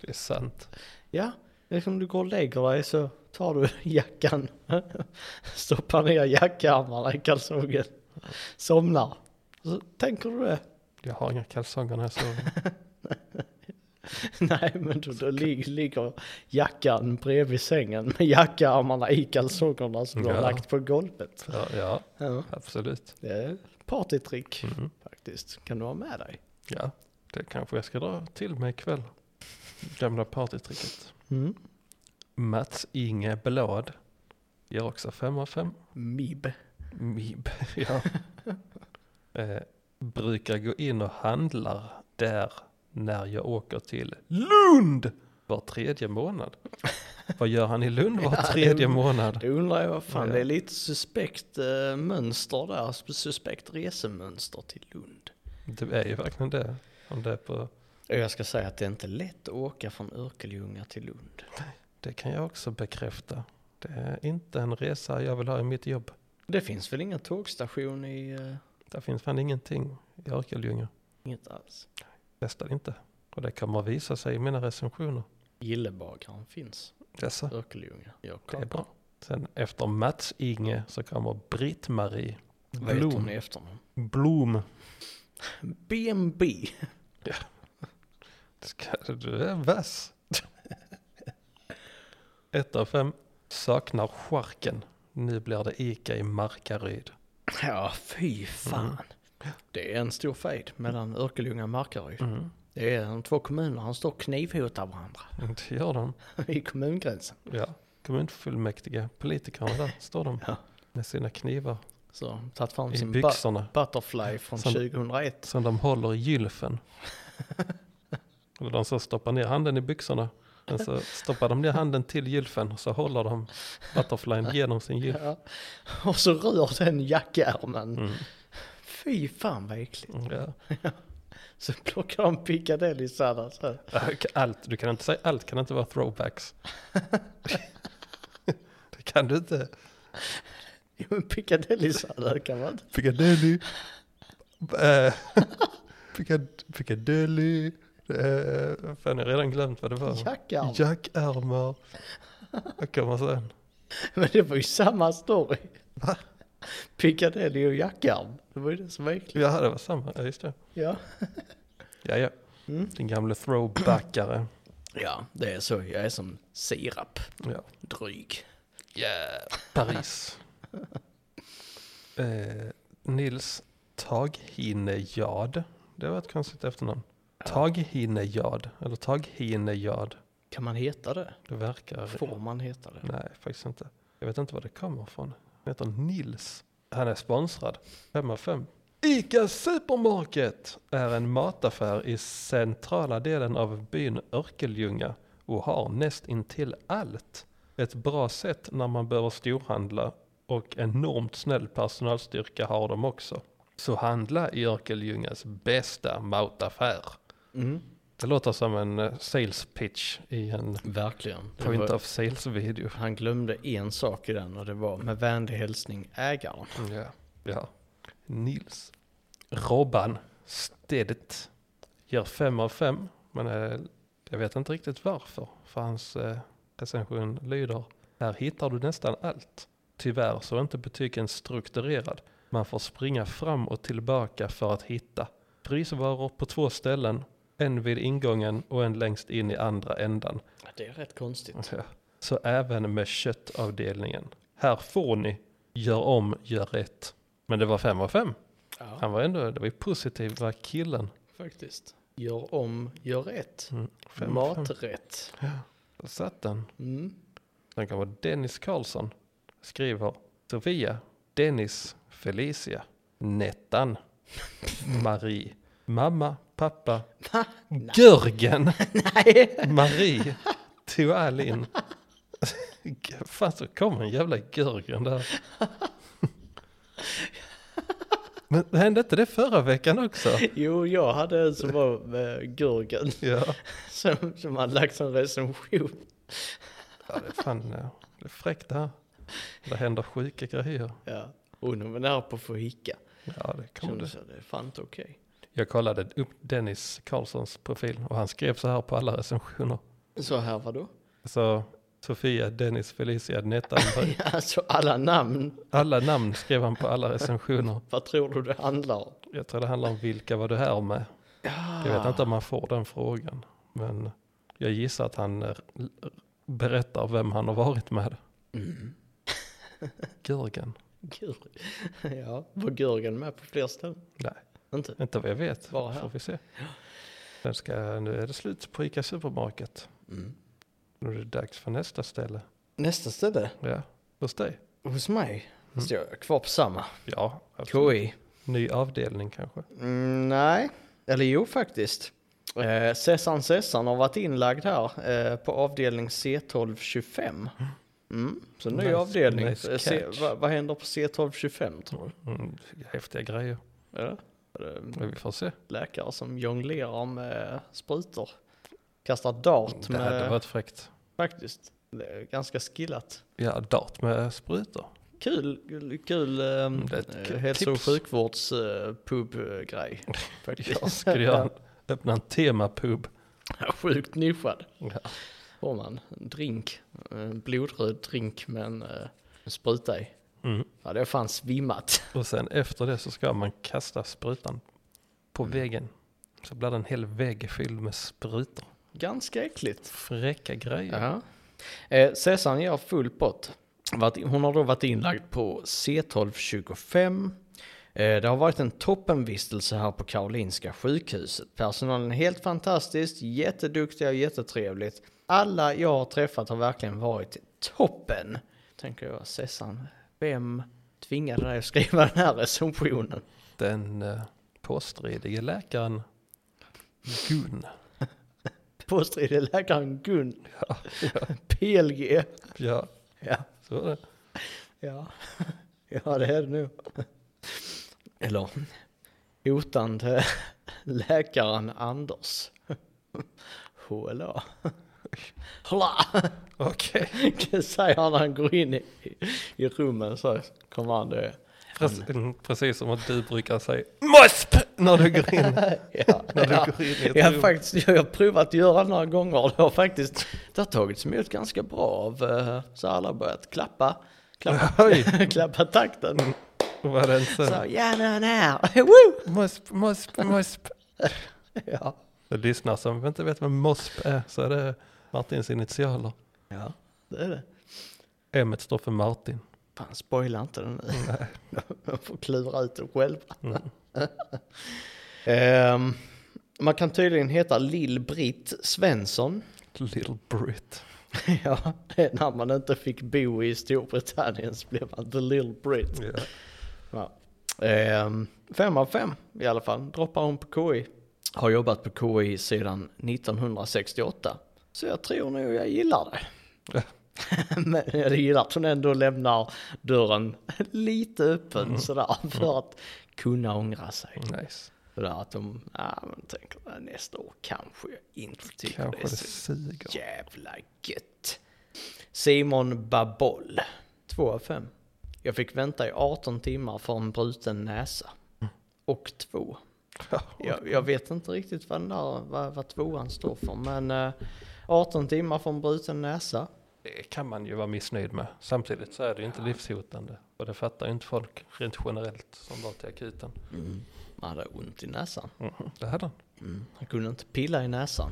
Speaker 3: det är sant.
Speaker 2: ja, det är som du går och lägger dig så tar du jackan. Stoppar ner jackarmarna i kalsongen. Somnar. Så tänker du det?
Speaker 3: Jag har inga kalsonger när jag sover.
Speaker 2: Nej, men då, då lig- ligger jackan bredvid sängen med jackarmarna i kalsongerna som du har
Speaker 3: Ja.
Speaker 2: lagt på golvet.
Speaker 3: Ja, ja
Speaker 2: Ja,
Speaker 3: absolut.
Speaker 2: det är ett partytrick
Speaker 3: Mhm.
Speaker 2: faktiskt. Kan du ha med dig?
Speaker 3: Ja, det kanske jag ska dra till mig ikväll. Gamla partytricket.
Speaker 2: Mm.
Speaker 3: Mats Inge Blad ger också 5 av 5.
Speaker 2: Mib.
Speaker 3: Mib, ja. eh, brukar gå in och handlar där när jag åker till Lund var tredje månad. Vad gör han i Lund var
Speaker 2: Ja, det-
Speaker 3: tredje månad?
Speaker 2: Det undrar jag, vad fan
Speaker 3: Ja.
Speaker 2: det är lite suspekt eh, mönster där, suspekt resemönster till Lund.
Speaker 3: Det är ju verkligen det. Om det, är på,
Speaker 2: Och jag ska säga att det är inte lätt att åka från Örkelljunga till Lund.
Speaker 3: det kan jag också bekräfta. Det är inte en resa jag vill ha i mitt jobb.
Speaker 2: Det finns väl ingen tågstation i eh,
Speaker 3: Där finns fan ingenting i Örkelljunga.
Speaker 2: inget alls?
Speaker 3: Nästan inte. Och det kommer att visa sig i mina recensioner.
Speaker 2: Gillebagaren finns,
Speaker 3: Jaså?
Speaker 2: Örkelljunga. Jag
Speaker 3: Det är
Speaker 2: kan-
Speaker 3: bra. Sen efter Mats Inge så kommer Britt-Marie
Speaker 2: Vad heter hon
Speaker 3: Blom.
Speaker 2: i efternamn?
Speaker 3: Blom.
Speaker 2: BMB.
Speaker 3: Ska du är vass. Ett av fem. Saknar charken. Nu blir det Ica i Markaryd.
Speaker 2: Ja, fy fan. Det är en stor fejd mellan Örkelljunga och Markaryd.
Speaker 3: Mm.
Speaker 2: Det är de två kommunerna som står och knivhotar varandra
Speaker 3: Det gör de.
Speaker 2: i kommungränsen.
Speaker 3: Ja. Kommunfullmäktige, politikerna där står de.
Speaker 2: Ja.
Speaker 3: Med sina knivar
Speaker 2: Så de har tagit fram
Speaker 3: i
Speaker 2: sin ba-
Speaker 3: byxorna.
Speaker 2: Butterfly från
Speaker 3: Som-
Speaker 2: 2001.
Speaker 3: Som de håller i gylfen. Eller de så stoppar ner handen i byxorna. Men så stoppar de ner handen till gylfen och så håller de butterflyn genom sin gylf.
Speaker 2: Ja. Och så rör den jackärmen.
Speaker 3: Mm.
Speaker 2: Fy fan vad äckligt.
Speaker 3: Ja.
Speaker 2: Så plockar de piccadillysarna så. här.
Speaker 3: Allt, du kan inte säga allt kan inte vara throwbacks. det kan du inte.
Speaker 2: Jo men piccadillysarna kan man inte.
Speaker 3: Piccadilly. Eh, Piccad- Piccadilly. Eh, Fan, jag har redan glömt vad det var.
Speaker 2: Jackärm.
Speaker 3: Jackärmar. Vad kommer sen?
Speaker 2: Men det var ju samma story. Piccadilly och jackärm. Det var ju det som var äckligt.
Speaker 3: Ja, det var samma. Ja, just det.
Speaker 2: Ja.
Speaker 3: Ja, ja.
Speaker 2: Mm.
Speaker 3: Din gamle throwbackare.
Speaker 2: ja, det är så. Jag är som sirap.
Speaker 3: Ja.
Speaker 2: Dryg.
Speaker 3: Paris. eh, Nils Taghinejad. Det var ett konstigt efternamn. Taghinejad. Eller Taghinejad.
Speaker 2: Kan man heta det?
Speaker 3: Det verkar...
Speaker 2: Får man heta det?
Speaker 3: Nej, faktiskt inte. Jag vet inte var det kommer från. Han heter Nils. Han är sponsrad. 5 av 5. Ica Supermarket är en mataffär i centrala delen av byn Örkelljunga och har näst intill allt. Ett bra sätt när man behöver storhandla och enormt snäll personalstyrka har de också. Så handla i Örkelljungas bästa mataffär.
Speaker 2: Mm.
Speaker 3: Det låter som en eh, sales pitch i en
Speaker 2: Verkligen. Det
Speaker 3: point
Speaker 2: var-
Speaker 3: of sales-video.
Speaker 2: Han glömde en sak i den och det var med vänlig hälsning ägaren.
Speaker 3: Ja. ja. Nils. Robban Stedt. Ger fem av fem. Men eh, jag vet inte riktigt varför. För hans eh, recension lyder. Här hittar du nästan allt. Tyvärr så är inte butiken strukturerad. Man får springa fram och tillbaka för att hitta. Frysvaror på två ställen. En vid ingången och en längst in i andra ändan.
Speaker 2: Det är rätt konstigt.
Speaker 3: Ja. Så även med köttavdelningen. Här får ni, gör om, gör rätt. Men det var fem av fem.
Speaker 2: Ja,
Speaker 3: Han var ändå, det var ju positiva killen.
Speaker 2: faktiskt. Gör om, gör rätt.
Speaker 3: Mm. Fem av fem.
Speaker 2: Maträtt.
Speaker 3: Där satt den.
Speaker 2: Mm.
Speaker 3: Sen kommer Dennis Karlsson. Skriver Sofia, Dennis, Felicia, Nettan, Marie, mamma, pappa, Görgen,
Speaker 2: Nej!
Speaker 3: Marie, tog all in. Fan så kommer en jävla Görgen där. Men hände inte det förra veckan också?
Speaker 2: Jo, jag hade en som var med Gurgen
Speaker 3: Ja,
Speaker 2: som, som hade lagt en recension.
Speaker 3: ja det är fan eh, det är fräckt det här. Det händer sjuka grejer.
Speaker 2: Ja. Och nu var nära på att få hicka.
Speaker 3: Ja, det kommer
Speaker 2: Kände
Speaker 3: det.
Speaker 2: så det är fan inte okej.
Speaker 3: Jag kollade upp Dennis Karlssons profil och han skrev så här på alla recensioner.
Speaker 2: Så här var då?
Speaker 3: Så Sofia, Dennis, Felicia, Nettan, Bry.
Speaker 2: Alltså alla namn.
Speaker 3: Alla namn skrev han på alla recensioner.
Speaker 2: Vad tror du det handlar om?
Speaker 3: Jag tror det handlar om vilka var du här med? Jag
Speaker 2: Ah.
Speaker 3: vet inte om man får den frågan. Men jag gissar att han eh, l- berättar vem han har varit med.
Speaker 2: Mm.
Speaker 3: Gurgen?
Speaker 2: Gud. Ja, var Gurgen med på fler ställen?
Speaker 3: Nej,
Speaker 2: Inte?
Speaker 3: inte vad jag vet.
Speaker 2: Bara här.
Speaker 3: Får vi se. Sen ska, nu är det slut på Ica Supermarket.
Speaker 2: Mm.
Speaker 3: Nu är det dags för nästa ställe.
Speaker 2: Nästa ställe?
Speaker 3: Ja, hos dig.
Speaker 2: Hos mig?
Speaker 3: Mm.
Speaker 2: Står jag kvar på samma?
Speaker 3: Ja, absolut.
Speaker 2: KI?
Speaker 3: Ny avdelning kanske.
Speaker 2: Mm, nej, eller jo faktiskt. Eh, Sessan Sessan har varit inlagd här eh, på avdelning C1225. Mm, så ny
Speaker 3: Nice-
Speaker 2: avdelning.
Speaker 3: nice
Speaker 2: Eh, se,
Speaker 3: catch.
Speaker 2: vad, vad händer på C1225 tror
Speaker 3: Mm, häftiga grejer.
Speaker 2: du? Är det- är det
Speaker 3: Men Vi får se.
Speaker 2: läkare som jonglerar med sprutor. Kastar dart
Speaker 3: Det hade
Speaker 2: med...
Speaker 3: varit fräckt.
Speaker 2: Faktiskt. Det är ganska skillat.
Speaker 3: Ja, dart med sprutor.
Speaker 2: Kul, kul, kul eh,
Speaker 3: det är ett
Speaker 2: eh,
Speaker 3: kul
Speaker 2: hälso och eh,
Speaker 3: tips.
Speaker 2: sjukvårdspub-grej.
Speaker 3: Jag skulle göra en, öppna en temapub.
Speaker 2: Sjukt nischad.
Speaker 3: Ja.
Speaker 2: Har man en drink, en blodröd drink med en, eh, en spruta i.
Speaker 3: Mm.
Speaker 2: Ja, det är fan svimmat.
Speaker 3: Och sen efter det så ska man kasta sprutan på
Speaker 2: Mm.
Speaker 3: väggen. Så blir det en hel vägg fylld med sprutor.
Speaker 2: Ganska äckligt.
Speaker 3: Fräcka grejer.
Speaker 2: Ja. Eh, Sessan gör full pott. Varit- Hon har då varit inlagd på C1225. Eh, Det har varit en toppenvistelse här på Karolinska sjukhuset. Personalen är helt fantastisk, jätteduktiga och jättetrevligt. Alla jag har träffat har verkligen varit toppen. Tänker jag, Sessan, vem tvingade dig att skriva den här recensionen?
Speaker 3: Den eh, påstridige läkaren Gun.
Speaker 2: Påstridig läkaren Gun,
Speaker 3: Ja, ja,
Speaker 2: PLG.
Speaker 3: ja.
Speaker 2: Ja.
Speaker 3: Så var det.
Speaker 2: Ja, ja det är det nog. Eller hotande läkaren Anders. HLA. Hola!
Speaker 3: Okej.
Speaker 2: Det säger han när han går in i, i rummen så kommer han det.
Speaker 3: Prec- mm, Precis som att du brukar säga MOSP när du går in.
Speaker 2: Ja,
Speaker 3: När du
Speaker 2: ja.
Speaker 3: går in i ett
Speaker 2: Jag har
Speaker 3: rum.
Speaker 2: faktiskt jag har provat att göra några gånger och det har faktiskt det har tagits emot ganska bra av eh, så alla har börjat klappa, klappa,
Speaker 3: Oj.
Speaker 2: klappa takten.
Speaker 3: Var det inte
Speaker 2: Så
Speaker 3: så?
Speaker 2: ja, den här, woo!
Speaker 3: MOSP, MOSP, MOSP.
Speaker 2: Ja.
Speaker 3: För lyssnare som inte vet vad MOSP är så är det Martins initialer.
Speaker 2: Ja, det är det.
Speaker 3: M står för Martin.
Speaker 2: Fan, spoila inte den nu. De får klura ut den själva. Ehm, man kan tydligen heta Lill-Britt Svensson.
Speaker 3: Little Brit.
Speaker 2: ja, det är när man inte fick bo i Storbritannien så blev man The Lill-Britt.
Speaker 3: Ja.
Speaker 2: Ja. Ehm, fem av fem i alla fall, droppar hon på KI. Har jobbat på KI sedan 1968. Så jag tror nog jag gillar det.
Speaker 3: Ja.
Speaker 2: Men jag gillar att hon ändå lämnar dörren lite öppen
Speaker 3: Mm.
Speaker 2: sådär för att kunna ångra sig.
Speaker 3: Nice.
Speaker 2: Sådär att de, ja men tänker "Ja, nästa år kanske jag inte tycker
Speaker 3: Kanske
Speaker 2: det är
Speaker 3: det
Speaker 2: så
Speaker 3: suger.
Speaker 2: jävla gött. Simon Baboll, 2 av 5. Jag fick vänta i 18 timmar för en bruten näsa. Och två. Jag, jag vet inte riktigt vad, den där, vad, vad tvåan står för, men eh, 18 timmar för en bruten näsa.
Speaker 3: Det kan man ju vara missnöjd med. Samtidigt så är det ju inte livshotande. Och det fattar ju inte folk rent generellt som var till akuten.
Speaker 2: Man hade ont i näsan.
Speaker 3: Det hade han.
Speaker 2: Han kunde inte pilla i näsan.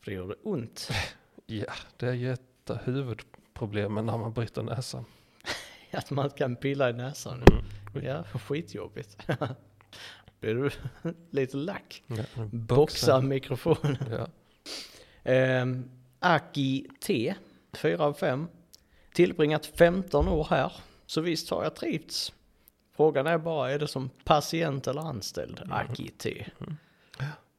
Speaker 2: För det gjorde ont.
Speaker 3: Ja, det är ju ett av huvudproblemen när man bryter näsan.
Speaker 2: Att man inte kan pilla i näsan.
Speaker 3: Mm.
Speaker 2: Ja, skitjobbigt. Blir du lite lack?
Speaker 3: Ja, en
Speaker 2: Boxa mikrofonen.
Speaker 3: Ja.
Speaker 2: Ehm, Aki T, 4 av 5. Tillbringat 15 år här, så visst har jag trivts. Frågan är bara, är det som patient eller anställd?
Speaker 3: Mm.
Speaker 2: Aki T.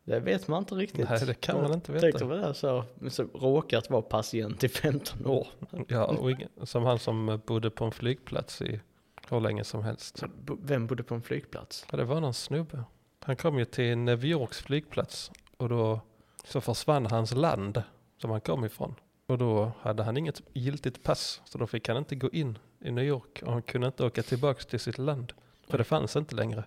Speaker 2: Det vet man inte riktigt.
Speaker 3: Nej, det kan man inte
Speaker 2: Tänkte
Speaker 3: veta.
Speaker 2: väl det så, men så råkat vara patient i 15 år.
Speaker 3: Ja, och ingen, som han som bodde på en flygplats i hur länge som helst.
Speaker 2: B- Vem bodde på en flygplats?
Speaker 3: Ja, det var någon snubbe. Han kom ju till New Yorks flygplats och då så försvann hans land som han kom ifrån. Och då hade han inget giltigt pass så då fick han inte gå in i New York och han kunde inte åka tillbaka till sitt land. För det fanns inte längre.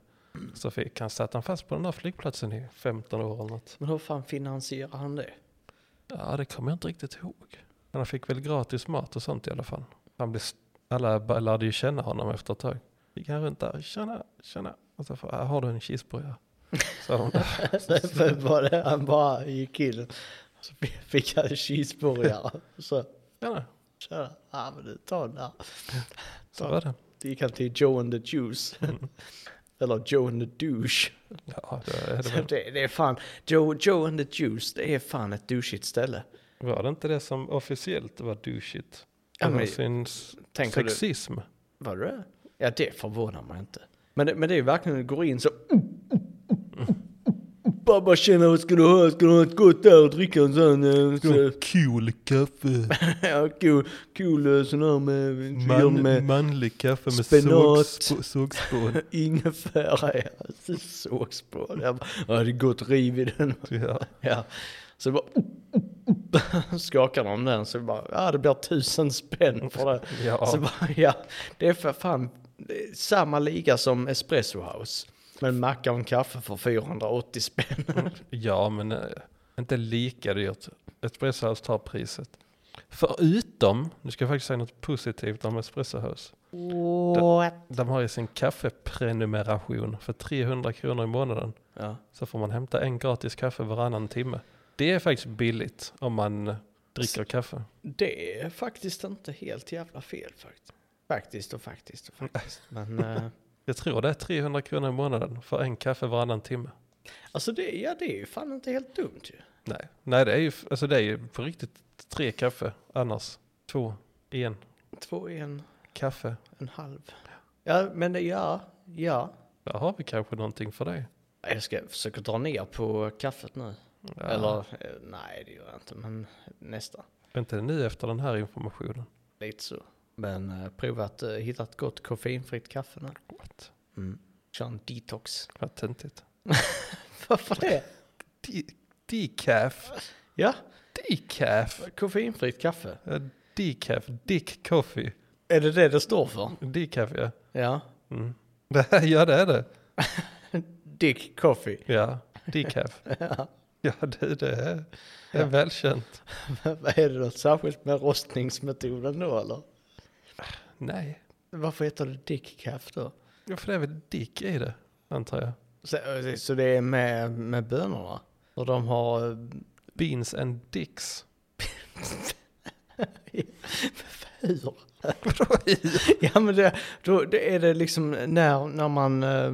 Speaker 3: Så fick han, satt han fast på den där flygplatsen i 15 år eller något.
Speaker 2: Men hur fan finansierar han det?
Speaker 3: Ja, det kommer jag inte riktigt ihåg. Men han fick väl gratis mat och sånt i alla fall. Han blev, st- alla bara lärde ju känna honom efter ett tag. Gick han runt där, tjena, tjena. Och så får, "Ah, har du en cheeseburgare? Så hon,
Speaker 2: För var det, han bara gick in så fick han cheeseburgare. Så
Speaker 3: tjena.
Speaker 2: tjena, ja men du tar den där.
Speaker 3: Så var det.
Speaker 2: Då gick han till Joe and the Juice.
Speaker 3: Mm.
Speaker 2: Eller Joe and the Douche.
Speaker 3: Ja, det, är det
Speaker 2: Så
Speaker 3: väl.
Speaker 2: Det, det är fan, Joe, Joe and the Juice, det är fan ett douchigt ställe.
Speaker 3: var det inte det som officiellt var douchigt?
Speaker 2: Ja,
Speaker 3: Ja,
Speaker 2: men-
Speaker 3: men, syns
Speaker 2: Tänker du,
Speaker 3: sexism.
Speaker 2: vad det? Ja det förvånar mig inte. Men det, men det är ju verkligen, du går in så... Pappa tjena vad ska du ha? Ska du ha ett gott där och dricka en sån? eh, Ska du...
Speaker 3: Cool kaffe.
Speaker 2: Ja, cool, cool eh, sån här med... gör med
Speaker 3: manlig kaffe
Speaker 2: med spenat.
Speaker 3: sågspån.
Speaker 2: ingefära, ja. Sågspån. Jag bara, Ja, det är gott riv i den.
Speaker 3: Ja.
Speaker 2: Ja. Så det bara... Skakar de den så bara, ja det blir tusen spänn för det.
Speaker 3: Ja.
Speaker 2: Så bara, ja, det är för fan det är samma liga som Espresso House. Men macka och en kaffe för 480 spänn.
Speaker 3: ja, men eh, inte lika dyrt. Espresso House tar priset. Förutom, nu ska jag faktiskt säga något positivt om Espresso House.
Speaker 2: What?
Speaker 3: De har ju sin kaffeprenumeration för 300 kronor i månaden.
Speaker 2: Ja.
Speaker 3: Så får man hämta en gratis kaffe varannan timme. Det är faktiskt billigt om man eh, dricker kaffe.
Speaker 2: Det är faktiskt inte helt jävla fel faktiskt. Faktiskt och faktiskt och faktiskt. Men eh,
Speaker 3: Jag tror det är 300 kronor i månaden för en kaffe varannan timme.
Speaker 2: alltså det, ja, det är ju fan inte helt dumt ju.
Speaker 3: Nej, Nej det, är ju, alltså det är ju på riktigt tre kaffe annars. Två, en
Speaker 2: Två är en,
Speaker 3: kaffe.
Speaker 2: en halv. Ja, men det, ja, ja.
Speaker 3: Där har vi kanske någonting för dig.
Speaker 2: Jag ska försöka dra ner på kaffet nu.
Speaker 3: Ja,
Speaker 2: Eller eh, nej, det gör jag inte, men nästan.
Speaker 3: Inte nu efter den här informationen.
Speaker 2: Lite så. Men eh, prova att eh, hitta ett gott koffeinfritt kaffe nu.
Speaker 3: What?
Speaker 2: Mm. Kör en detox.
Speaker 3: Vad töntigt.
Speaker 2: Varför det?
Speaker 3: De- Decaf.
Speaker 2: Ja,
Speaker 3: Decaf.
Speaker 2: koffeinfritt kaffe.
Speaker 3: Ja, Decaf. Dick coffee.
Speaker 2: Är det det det står för?
Speaker 3: Decaf ja.
Speaker 2: Ja.
Speaker 3: Mm. ja det är det.
Speaker 2: Dick Coffee.
Speaker 3: Ja, decaf. ja, det, det är, det är välkänt.
Speaker 2: Vad är det något särskilt med rostningsmetoden då eller?
Speaker 3: Nej,
Speaker 2: Varför heter det Dick Caff då?
Speaker 3: ja, för det är väl dick i det, antar jag.
Speaker 2: Så, eh, så det är med, med bönorna? Och de har... eh,
Speaker 3: Beans and dicks.
Speaker 2: Hur? ja men det, då, det är det liksom när, när man eh,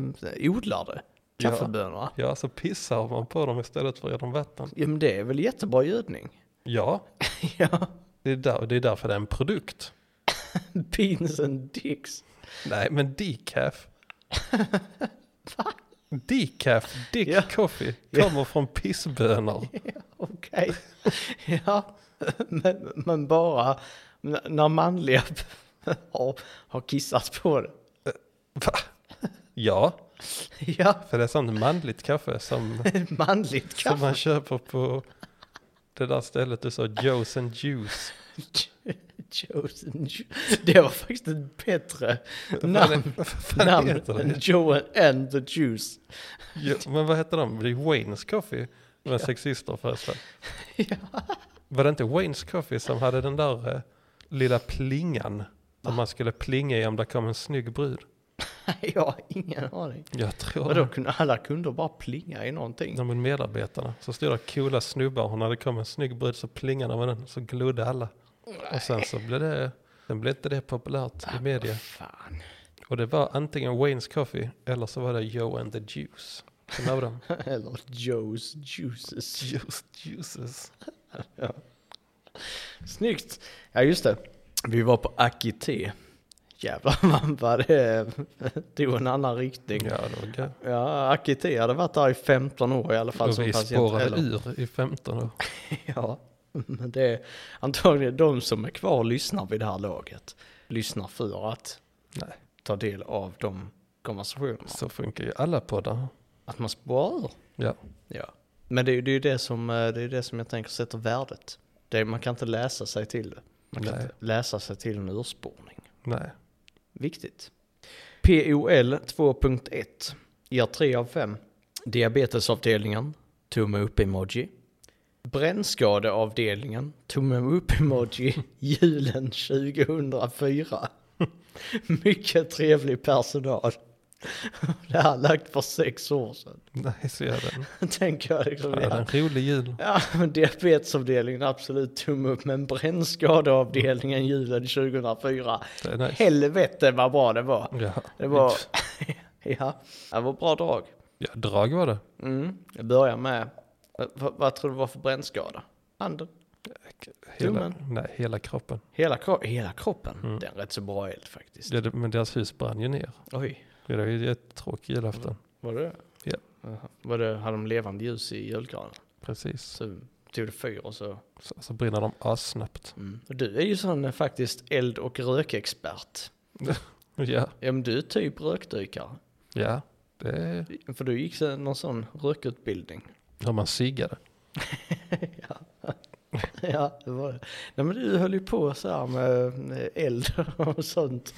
Speaker 2: odlar det,
Speaker 3: Ja.
Speaker 2: kaffebönorna.
Speaker 3: Ja, så pissar man på dem istället för att ge dem vatten.
Speaker 2: Ja men det är väl jättebra gödning?
Speaker 3: Ja,
Speaker 2: ja,
Speaker 3: det är, där, det är därför det är en produkt.
Speaker 2: beans and dicks.
Speaker 3: Nej, men decaf. Decaf, dick
Speaker 2: Ja.
Speaker 3: coffee,
Speaker 2: Ja.
Speaker 3: kommer från pissbönor.
Speaker 2: Okej. ja, men, men bara n- när manliga har, har kissat på det.
Speaker 3: Va? Ja,
Speaker 2: Ja,
Speaker 3: för det är sånt manligt kaffe som
Speaker 2: manligt
Speaker 3: Som
Speaker 2: kaffe.
Speaker 3: man köper på det där stället du sa, Joe's and Juice.
Speaker 2: Chosen Ju- Det var faktiskt ett bättre namn.
Speaker 3: Vad fan
Speaker 2: namn
Speaker 3: heter
Speaker 2: än
Speaker 3: det?
Speaker 2: Joe and the Juice.
Speaker 3: Jo, men vad heter de? Det är Wayne's Coffee. De var sexister förresten.
Speaker 2: Ja.
Speaker 3: Var det inte Wayne's Coffee som hade den där eh, lilla plingan? Som man skulle plinga i om det kom en snygg brud.
Speaker 2: Jag har ingen aning.
Speaker 3: Jag tror
Speaker 2: Vadå,
Speaker 3: det.
Speaker 2: kunde alla kunder bara plinga i någonting?
Speaker 3: De är medarbetarna. Så stod det coola snubbar och när det kom en snygg brud så plingade man den. Så glodde alla. Och sen så blev det, sen blev inte det populärt i media.
Speaker 2: Fan.
Speaker 3: Och det var antingen Wayne's Coffee eller så var det Joe and the Juice. En av dem.
Speaker 2: Eller Joe's Juices.
Speaker 3: Juice, juices.
Speaker 2: Snyggt! Ja just det, vi var på Akite. Jävlar man vad det tog en annan riktning. Ja,
Speaker 3: Ja, det var gött.
Speaker 2: Akite hade varit där i 15 år i alla fall
Speaker 3: Och
Speaker 2: som
Speaker 3: vi
Speaker 2: patient.
Speaker 3: spårade
Speaker 2: eller-
Speaker 3: ur i 15 år.
Speaker 2: Ja, men det är antagligen de som är kvar lyssnar vid det här laget. Lyssnar för att
Speaker 3: Nej.
Speaker 2: ta del av de konversationerna.
Speaker 3: Så funkar ju alla poddar.
Speaker 2: Att man sparar ur.
Speaker 3: Ja.
Speaker 2: Ja. Men det är ju det, är ju det, som, eh, det, är ju det som jag tänker sätter värdet. Det, är- man kan inte läsa sig till det. Man kan
Speaker 3: Nej.
Speaker 2: inte läsa sig till en urspårning.
Speaker 3: Nej.
Speaker 2: Viktigt. POL 2.1 ger 3 av 5. Diabetesavdelningen, tumme upp-emoji. Brännskadeavdelningen, tumme upp-emoji, julen 2004. Mycket trevlig personal. Det här är lagt för sex år sedan.
Speaker 3: Nej, så gör den.
Speaker 2: Tänker jag liksom.
Speaker 3: Ja,
Speaker 2: Ja,
Speaker 3: en rolig jul.
Speaker 2: ja men diabetesavdelningen absolut tumme upp, men brännskadeavdelningen julen 2004.
Speaker 3: Det är nice.
Speaker 2: Helvete vad bra det var.
Speaker 3: Ja.
Speaker 2: Det var, ja, det var bra drag.
Speaker 3: ja, drag var det.
Speaker 2: Mm. Jag börjar med, vad, vad tror du var för brännskada? Handen?
Speaker 3: Hela,
Speaker 2: Tummen.
Speaker 3: nej, hela kroppen.
Speaker 2: Hela, kro- hela kroppen? Det är en rätt så bra eld faktiskt.
Speaker 3: Ja, det, men deras hus brann ju ner.
Speaker 2: Oj,
Speaker 3: Ja, det var ju jättetråkig julafton.
Speaker 2: var det
Speaker 3: Ja.
Speaker 2: Jaha. Var det, hade de levande ljus i julgranen?
Speaker 3: Precis.
Speaker 2: Så tog det fyr och så.
Speaker 3: Så, så brinner de assnabbt.
Speaker 2: Mm. Och du är ju sån eh, faktiskt eld och rökexpert.
Speaker 3: Ja.
Speaker 2: Ja men du är typ rökdykare.
Speaker 3: ja, det är
Speaker 2: För du gick så- någon sån rökutbildning.
Speaker 3: hur man ciggade.
Speaker 2: Ja, det var det. Nej, men du höll ju på så här med eh, eld och sånt.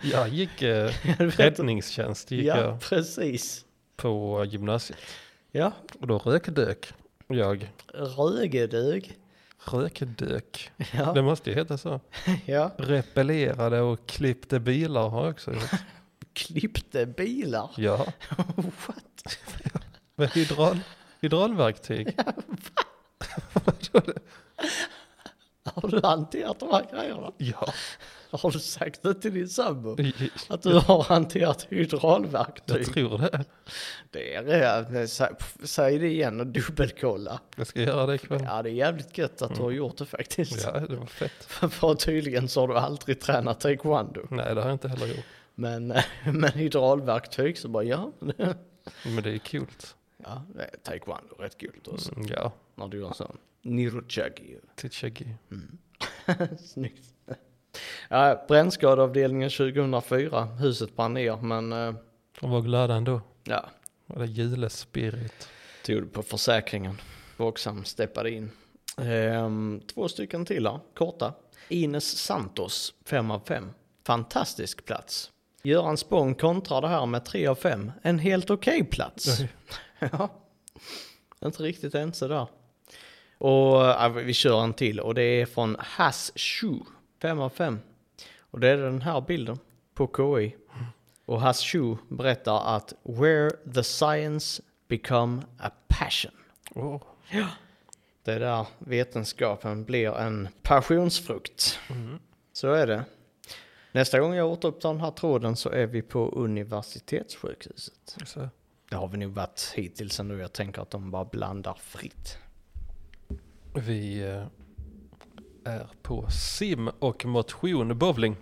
Speaker 3: Jag gick eh,
Speaker 2: Du vet-
Speaker 3: räddningstjänst gick
Speaker 2: ja,
Speaker 3: jag
Speaker 2: precis.
Speaker 3: på gymnasiet.
Speaker 2: Ja,
Speaker 3: Och då rökdök jag.
Speaker 2: rögedug.
Speaker 3: Rökdök.
Speaker 2: Ja,
Speaker 3: Det måste ju heta så.
Speaker 2: ja.
Speaker 3: Repellerade och klippte bilar har jag också gjort.
Speaker 2: Klippte bilar.
Speaker 3: Ja,
Speaker 2: What?
Speaker 3: med hydral, hydraulverktyg.
Speaker 2: Har du hanterat de här grejerna?
Speaker 3: Ja,
Speaker 2: Har du sagt det till din sambo?
Speaker 3: i-
Speaker 2: Att du har hanterat
Speaker 3: jag
Speaker 2: hydraulverktyg?
Speaker 3: tror det.
Speaker 2: Det är det. Sä- Säg det igen och dubbelkolla.
Speaker 3: Jag ska göra det ikväll.
Speaker 2: Ja, det är jävligt gött att du har gjort det faktiskt.
Speaker 3: Mm. Ja, det var fett.
Speaker 2: För tydligen så har du aldrig tränat taekwondo.
Speaker 3: Nej, det har jag inte heller gjort.
Speaker 2: Men, eh, men hydraulverktyg så bara ja.
Speaker 3: Men det är coolt.
Speaker 2: ja det är taekwondo, rätt kul då. så
Speaker 3: Mm, Ja,
Speaker 2: När du gör en sån. Nirochagi.
Speaker 3: till Tjeckien.
Speaker 2: Snyggt. Ja, brännskadeavdelningen 2004. Huset brann ner men eh,
Speaker 3: De var glada ändå.
Speaker 2: ja,
Speaker 3: Var det julespirit?
Speaker 2: tog det på försäkringen. Vaksam steppade in. Ehm, två stycken till här, korta. Ines Santos, 5 av 5. Fantastisk plats. Göran Spång kontrar det här med 3 av 5. En helt okej plats. Ja, inte riktigt ense där. Och ja, vi kör en till och det är från Has Shu, 5 av 5. Och det är den här bilden på KI. Och Has Shu berättar att “Where the science become a passion”.
Speaker 3: Åh,
Speaker 2: Det är där vetenskapen blir en passionsfrukt. Så är det. Nästa gång jag återupptar den här tråden så är vi på universitetssjukhuset.
Speaker 3: så.
Speaker 2: Det har vi nog varit hittills ändå. Jag tänker att de bara blandar fritt.
Speaker 3: Vi eh, är på sim och motion bowling.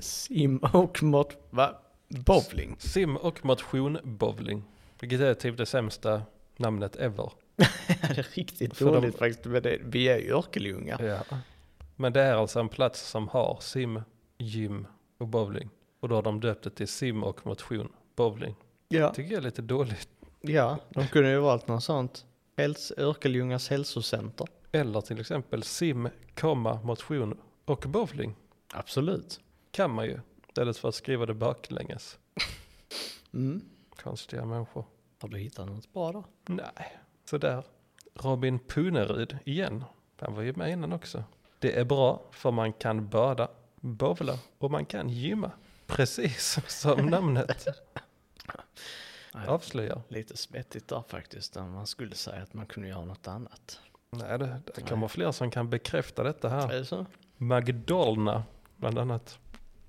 Speaker 2: Sim och mot... Va? Bowling?
Speaker 3: Sim och motion bowling. Vilket är typ det sämsta namnet ever.
Speaker 2: Det är riktigt
Speaker 3: För
Speaker 2: dåligt
Speaker 3: de-
Speaker 2: faktiskt. Men det, vi är ju örkelljungar.
Speaker 3: Ja. Men det är alltså en plats som har sim, gym och bowling. Och då har de döpt det till sim och motion bowling.
Speaker 2: Ja.
Speaker 3: Tycker jag är lite dåligt.
Speaker 2: ja, de kunde ju valt något sånt. Häls, örkelljungars hälsocenter.
Speaker 3: Eller till exempel sim, komma, motion och bowling.
Speaker 2: Absolut.
Speaker 3: Kan man ju. Istället för att skriva det baklänges.
Speaker 2: Mm.
Speaker 3: Konstiga människor.
Speaker 2: Har du hittat något bra då?
Speaker 3: Nej, sådär. Robin Puneryd igen. Han var ju med innan också. Det är bra för man kan bada, bowla och man kan gymma. Precis som namnet avslöjar.
Speaker 2: Lite svettigt där faktiskt. Där man skulle säga att man kunde göra något annat.
Speaker 3: Nej, det, det kommer fler som kan bekräfta detta
Speaker 2: Är
Speaker 3: här.
Speaker 2: det så?
Speaker 3: Magdalena, bland annat.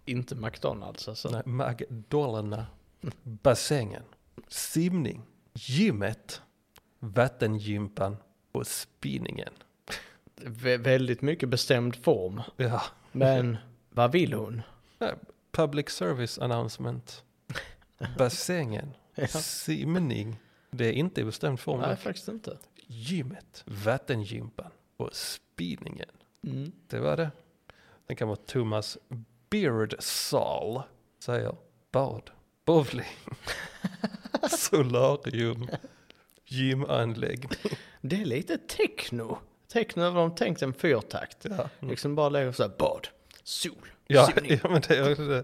Speaker 2: Inte McDonalds alltså.
Speaker 3: Nej, Magdalena. Bassängen, simning, gymmet, vattengympan och spinningen.
Speaker 2: Vä- väldigt mycket bestämd form.
Speaker 3: Ja.
Speaker 2: Men vad vill hon?
Speaker 3: Nej, Public service announcement. Bassängen. Simning. Det är inte i bestämd form.
Speaker 2: Nej,
Speaker 3: dock.
Speaker 2: faktiskt inte.
Speaker 3: Gymmet. Vattengympan. Och spinningen.
Speaker 2: Mm.
Speaker 3: Det var det. Sen kan vara Thomas Beardsall säger bad, bowling, solarium, gymanläggning.
Speaker 2: Det är lite techno. Techno har de tänkt en fyrtakt.
Speaker 3: Ja. Mm.
Speaker 2: Liksom bara lägger så här bad, sol,
Speaker 3: Ja,
Speaker 2: simning.
Speaker 3: ja, men det är också det.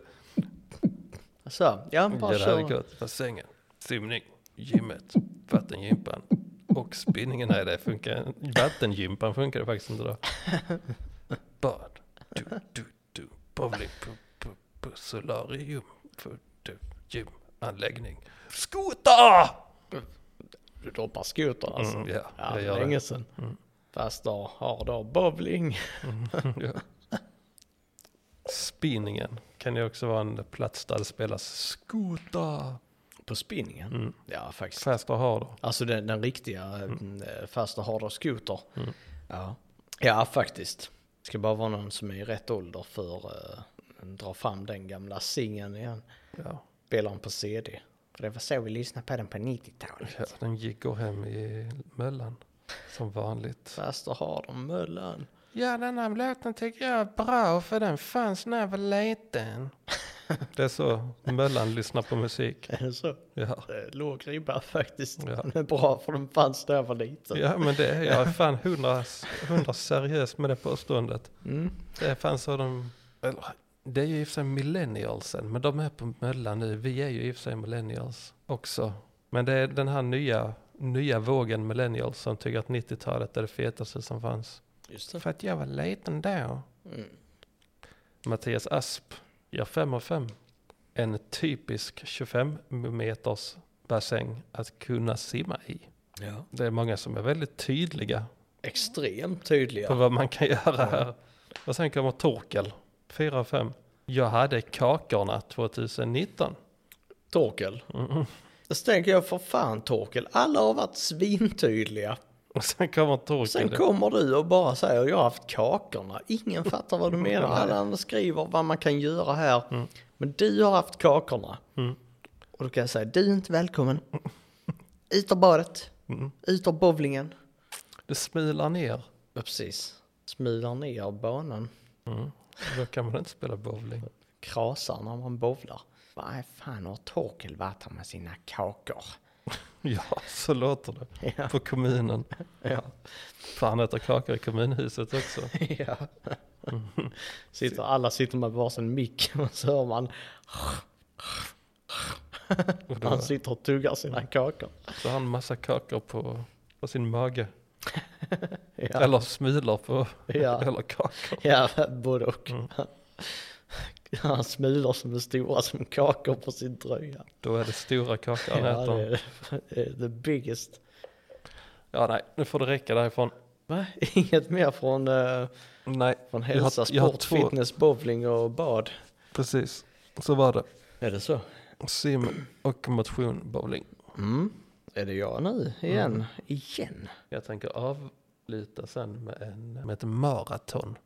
Speaker 2: Så, ja,
Speaker 3: Ja,
Speaker 2: bara
Speaker 3: det här är
Speaker 2: kör.
Speaker 3: gott. Bassängen, simning, gymmet, vattengympan och spinningen. Nej, det funkar Vattengympan funkar det faktiskt inte då. Bad, du, du, du, bowling, pu, pu, pu, solarium, pu, du, gymanläggning, skoter!
Speaker 2: Du droppar skotern alltså.
Speaker 3: Mm, ja,
Speaker 2: Ja,
Speaker 3: jag gör
Speaker 2: länge
Speaker 3: det. Mm.
Speaker 2: sedan. Fast då har då bowling.
Speaker 3: Ja. Spinningen kan ju också vara en plats där det spelas skoter.
Speaker 2: På spinningen?
Speaker 3: Mm.
Speaker 2: Ja, faktiskt.
Speaker 3: Fast och har då.
Speaker 2: Alltså den, den riktiga mm. fasta harda skoter.
Speaker 3: Mm.
Speaker 2: Ja. ja, faktiskt. Det ska bara vara någon som är i rätt ålder för eh, dra fram den gamla singeln igen.
Speaker 3: Ja.
Speaker 2: Spela den på CD. För det var så vi lyssnade på den på 90-talet.
Speaker 3: Ja, den gick går hem i möllan. Som vanligt.
Speaker 2: Fasta harda möllan.
Speaker 3: Ja, den här låten tycker jag är bra för den fanns när jag var liten. Det är så möllan lyssnar på musik.
Speaker 2: Är det så?
Speaker 3: Ja,
Speaker 2: Eh, Låg ribba faktiskt.
Speaker 3: Ja.
Speaker 2: Den är bra för den fanns när jag var liten.
Speaker 3: ja men det är jag är fan hundra, hundra seriös med det påståendet.
Speaker 2: Mm.
Speaker 3: Det är fan så de... Eller, det är ju i och för sig millennialsen, men de är på möllan nu. Vi är ju i och för sig millennials också. Men det är den här nya, nya vågen millennials som tycker att 90-talet är det fetaste som fanns.
Speaker 2: Just det.
Speaker 3: För att jag var liten då.
Speaker 2: Mm.
Speaker 3: Mattias Asp gör 5 av 5. En typisk 25 meters bassäng att kunna simma i.
Speaker 2: Ja.
Speaker 3: Det är många som är väldigt tydliga
Speaker 2: Extremt tydliga.
Speaker 3: på vad man kan göra här. Och sen kommer Torkel, 4 av 5. Jag hade kakorna 2019.
Speaker 2: Torkel.
Speaker 3: Mm.
Speaker 2: Så tänker jag för fan Torkel, alla har varit svintydliga.
Speaker 3: Och sen kommer Torkel.
Speaker 2: Sen kommer du och bara säger jag har haft kakorna. Ingen fattar vad du menar. Alla andra skriver vad man kan göra här.
Speaker 3: Mm.
Speaker 2: Men du har haft kakorna. Och då kan jag säga, du är inte välkommen. Ut ur badet.
Speaker 3: Mm.
Speaker 2: Ut ur bowlingen.
Speaker 3: Det smilar ner.
Speaker 2: Ja, precis. Smular ner banan.
Speaker 3: Då kan man inte spela bowling.
Speaker 2: Krasar när man bowlar. Vad fan har Torkel varit här med sina kakor?
Speaker 3: Ja, så låter det.
Speaker 2: Ja.
Speaker 3: På kommunen.
Speaker 2: Ja.
Speaker 3: Fan äter kakor i kommunhuset också.
Speaker 2: Ja. Sitter, alla sitter med varsin mick och så hör man
Speaker 3: Och då-
Speaker 2: han sitter och tuggar sina kakor.
Speaker 3: Så han massa kakor på, på sin mage.
Speaker 2: Ja,
Speaker 3: Eller smulor på,
Speaker 2: ja,
Speaker 3: eller kakor.
Speaker 2: ja både och.
Speaker 3: Mm.
Speaker 2: Han smular som är stora som kakor på sin tröja.
Speaker 3: Då är det stora kakor han
Speaker 2: Ja, det
Speaker 3: äter.
Speaker 2: är, det är eh, the biggest.
Speaker 3: Ja, nej, nu får det räcka därifrån.
Speaker 2: Va? Inget mer från, eh,
Speaker 3: Nej,
Speaker 2: från
Speaker 3: har-
Speaker 2: hälsa,
Speaker 3: jag har
Speaker 2: sport,
Speaker 3: två.
Speaker 2: fitness, bowling och bad?
Speaker 3: precis. Så var det.
Speaker 2: Är det så?
Speaker 3: Sim och motion bowling.
Speaker 2: Mm. Är det jag nu igen?
Speaker 3: Mm.
Speaker 2: Igen?
Speaker 3: Jag tänker avluta sen med, en, med ett maraton.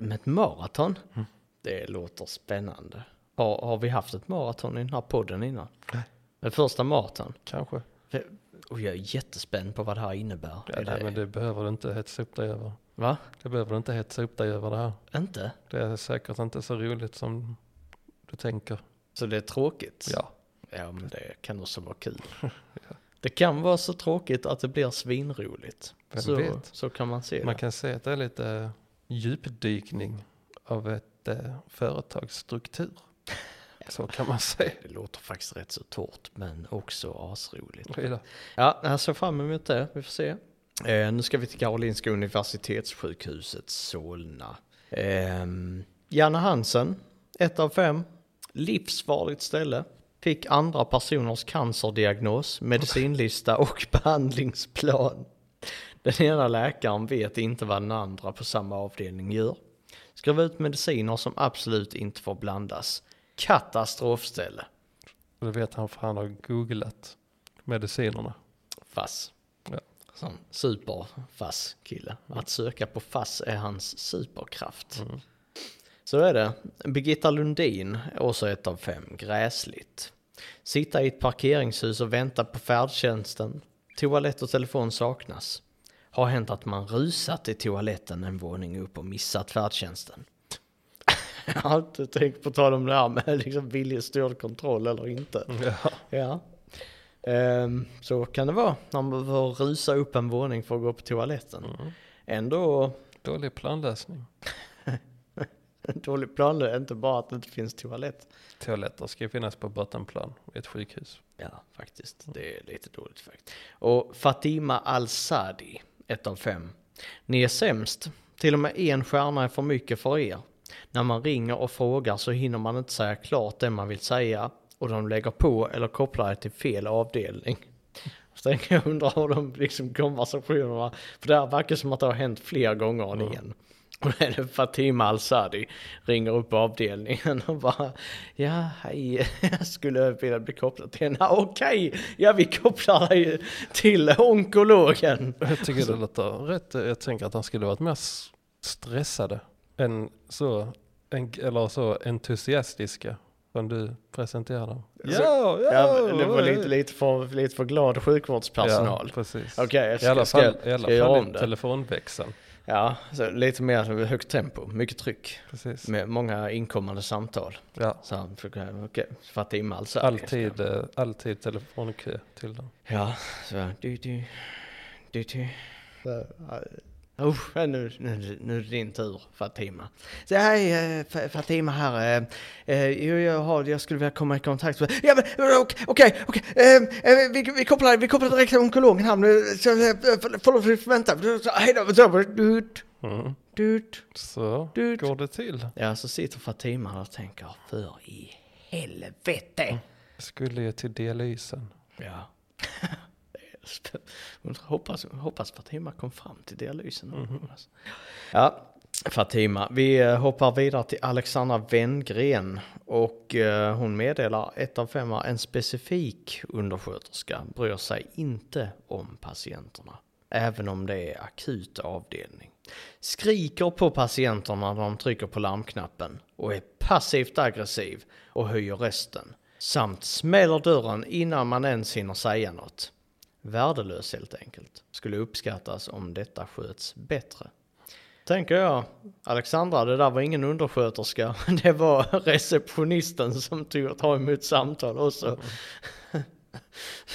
Speaker 2: Med ett maraton?
Speaker 3: Mm.
Speaker 2: Det låter spännande. Har, har vi haft ett maraton i den här podden innan?
Speaker 3: Nej.
Speaker 2: Det första maraton?
Speaker 3: Kanske.
Speaker 2: Och jag är jättespänd på vad det här innebär.
Speaker 3: Ja,
Speaker 2: Är
Speaker 3: nej,
Speaker 2: det-
Speaker 3: men det behöver du inte hetsa upp dig över.
Speaker 2: Va?
Speaker 3: Det behöver du inte hetsa upp dig över det här.
Speaker 2: Inte?
Speaker 3: Det är säkert inte så roligt som du tänker.
Speaker 2: Så det är tråkigt?
Speaker 3: Ja,
Speaker 2: Ja, men det kan också vara kul. Det kan vara så tråkigt att det blir svinroligt.
Speaker 3: Vem
Speaker 2: så,
Speaker 3: vet?
Speaker 2: så kan man se
Speaker 3: Man
Speaker 2: det.
Speaker 3: kan se att det är lite djupdykning av ett eh, företags struktur. Så kan man säga.
Speaker 2: Det låter faktiskt rätt så torrt, men också asroligt.
Speaker 3: Oj då.
Speaker 2: Ja, jag ser fram emot det. Vi får se. Eh, nu ska vi till Karolinska Universitetssjukhuset Solna. Ehm, Janne Hansen, ett av fem. Livsfarligt ställe. Fick andra personers cancerdiagnos, medicinlista och behandlingsplan. Den ena läkaren vet inte vad den andra på samma avdelning gör. Skrev ut mediciner som absolut inte får blandas. Katastrofställe.
Speaker 3: Och Det vet han för han har googlat medicinerna.
Speaker 2: Fass.
Speaker 3: Ja.
Speaker 2: Sån superfass kille. Att söka på fass är hans superkraft. Så är det. Birgitta Lundin, också ett av fem, gräsligt. Sitta i ett parkeringshus och vänta på färdtjänsten. Toalett och telefon saknas. Har hänt att man rusat i toaletten en våning upp och missat färdtjänsten. Jag har inte tänkt på tal om det här med liksom villig styrd kontroll eller inte.
Speaker 3: Ja.
Speaker 2: Ja. Ehm, så kan det vara när man behöver rusa upp en våning för att gå på toaletten.
Speaker 3: Mm.
Speaker 2: Ändå
Speaker 3: Dålig planlösning.
Speaker 2: dålig planlösning, inte bara att det inte finns toalett.
Speaker 3: Toaletter ska ju finnas på bottenplan i ett sjukhus.
Speaker 2: Ja, faktiskt. Det är lite dåligt faktiskt. Och Fatima Al-Sadi, ett av fem. Ni är sämst. Till och med en stjärna är för mycket för er. När man ringer och frågar så hinner man inte säga klart det man vill säga och de lägger på eller kopplar det till fel avdelning. Så tänker jag undra hur de liksom konversationerna, för det här verkar som att det har hänt fler gånger än igen. Och då är det Fatima Al-Sadi ringer upp avdelningen och bara Ja, hej, jag skulle vilja bli kopplad till henne. Okej, ja vi kopplar dig till onkologen.
Speaker 3: Jag tycker det låter rätt. eh, Jag tänker att han skulle varit mer s- stressade än så, en, eller så entusiastiska som du presenterade dem.
Speaker 2: Så- Ja, det var lite, lite, för, lite för glad sjukvårdspersonal.
Speaker 3: Ja, precis.
Speaker 2: Okej, jag
Speaker 3: I alla
Speaker 2: ska, ska,
Speaker 3: fall,
Speaker 2: ska,
Speaker 3: i alla
Speaker 2: jag göra
Speaker 3: fall
Speaker 2: om
Speaker 3: i
Speaker 2: det.
Speaker 3: telefonväxeln.
Speaker 2: Ja, så lite mer högt tempo, mycket tryck.
Speaker 3: Precis.
Speaker 2: Med många inkommande samtal.
Speaker 3: Ja.
Speaker 2: Så han försöker, okej, Fatima Al-Sadi.
Speaker 3: Alltid, eh, alltid telefonkö till dem.
Speaker 2: Ja, så du, du, du, du. Oh, nu, nu, nu är det din tur Fatima. Så, hej eh, Fa- Fatima här. eh, eh, Jo, jag, har, jag skulle vilja komma i kontakt med... Ja, men eh, okej, okej, okej. eh, eh, Vi, vi, kopplar, vi kopplar direkt till onkologen här nu. Så, eh, för- Förlåt, vänta. Så, Hej då. så, Dut,
Speaker 3: Mm.
Speaker 2: dut.
Speaker 3: Så
Speaker 2: Dut.
Speaker 3: går det till.
Speaker 2: Ja, så sitter Fatima där och tänker, för i helvete.
Speaker 3: Skulle ju till dialysen.
Speaker 2: Ja. Hon hoppas, hoppas Fatima kom fram till dialysen. Alltså. Ja, Fatima. Vi eh, hoppar vidare till Alexandra Wenngren. Och eh, hon meddelar ett av fem en specifik undersköterska bryr sig inte om patienterna. Även om det är akut avdelning. Skriker på patienterna när de trycker på larmknappen och är passivt aggressiv och höjer rösten. Samt smäller dörren innan man ens hinner säga något. Värdelös helt enkelt. Skulle uppskattas om detta sköts bättre. Tänker jag, Alexandra, det där var ingen undersköterska. Det var receptionisten som tog att ta emot samtal och så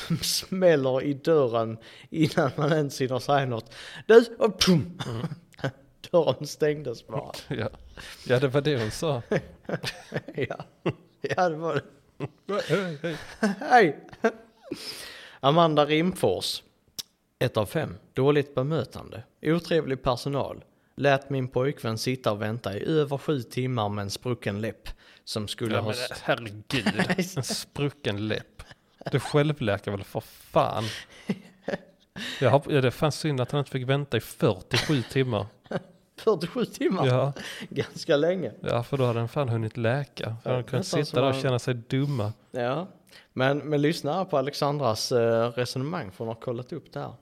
Speaker 2: Som smäller i dörren innan man ens hinner säga något. Du, och pum! Dörren stängdes bara.
Speaker 3: Ja. ja, det var det hon sa.
Speaker 2: Ja, ja det var det.
Speaker 3: Hej, hej.
Speaker 2: Hej! Amanda Rimfors. Ett av fem. Dåligt bemötande. Otrevlig personal. Lät min pojkvän sitta och vänta i över sju timmar med en sprucken läpp. Som skulle
Speaker 3: Ja,
Speaker 2: ha...
Speaker 3: men herregud, en sprucken läpp. Du självläker väl för fan. Jag har, ja, det är fan synd att han inte fick vänta i 47 timmar.
Speaker 2: 47 timmar?
Speaker 3: Ja,
Speaker 2: Ganska länge.
Speaker 3: ja för då hade han fan hunnit läka. För han kunde
Speaker 2: Nästan som
Speaker 3: sitta där och
Speaker 2: han-
Speaker 3: känna sig dumma.
Speaker 2: Ja. Men, men lyssna här på Alexandras eh, resonemang för hon har kollat upp det här.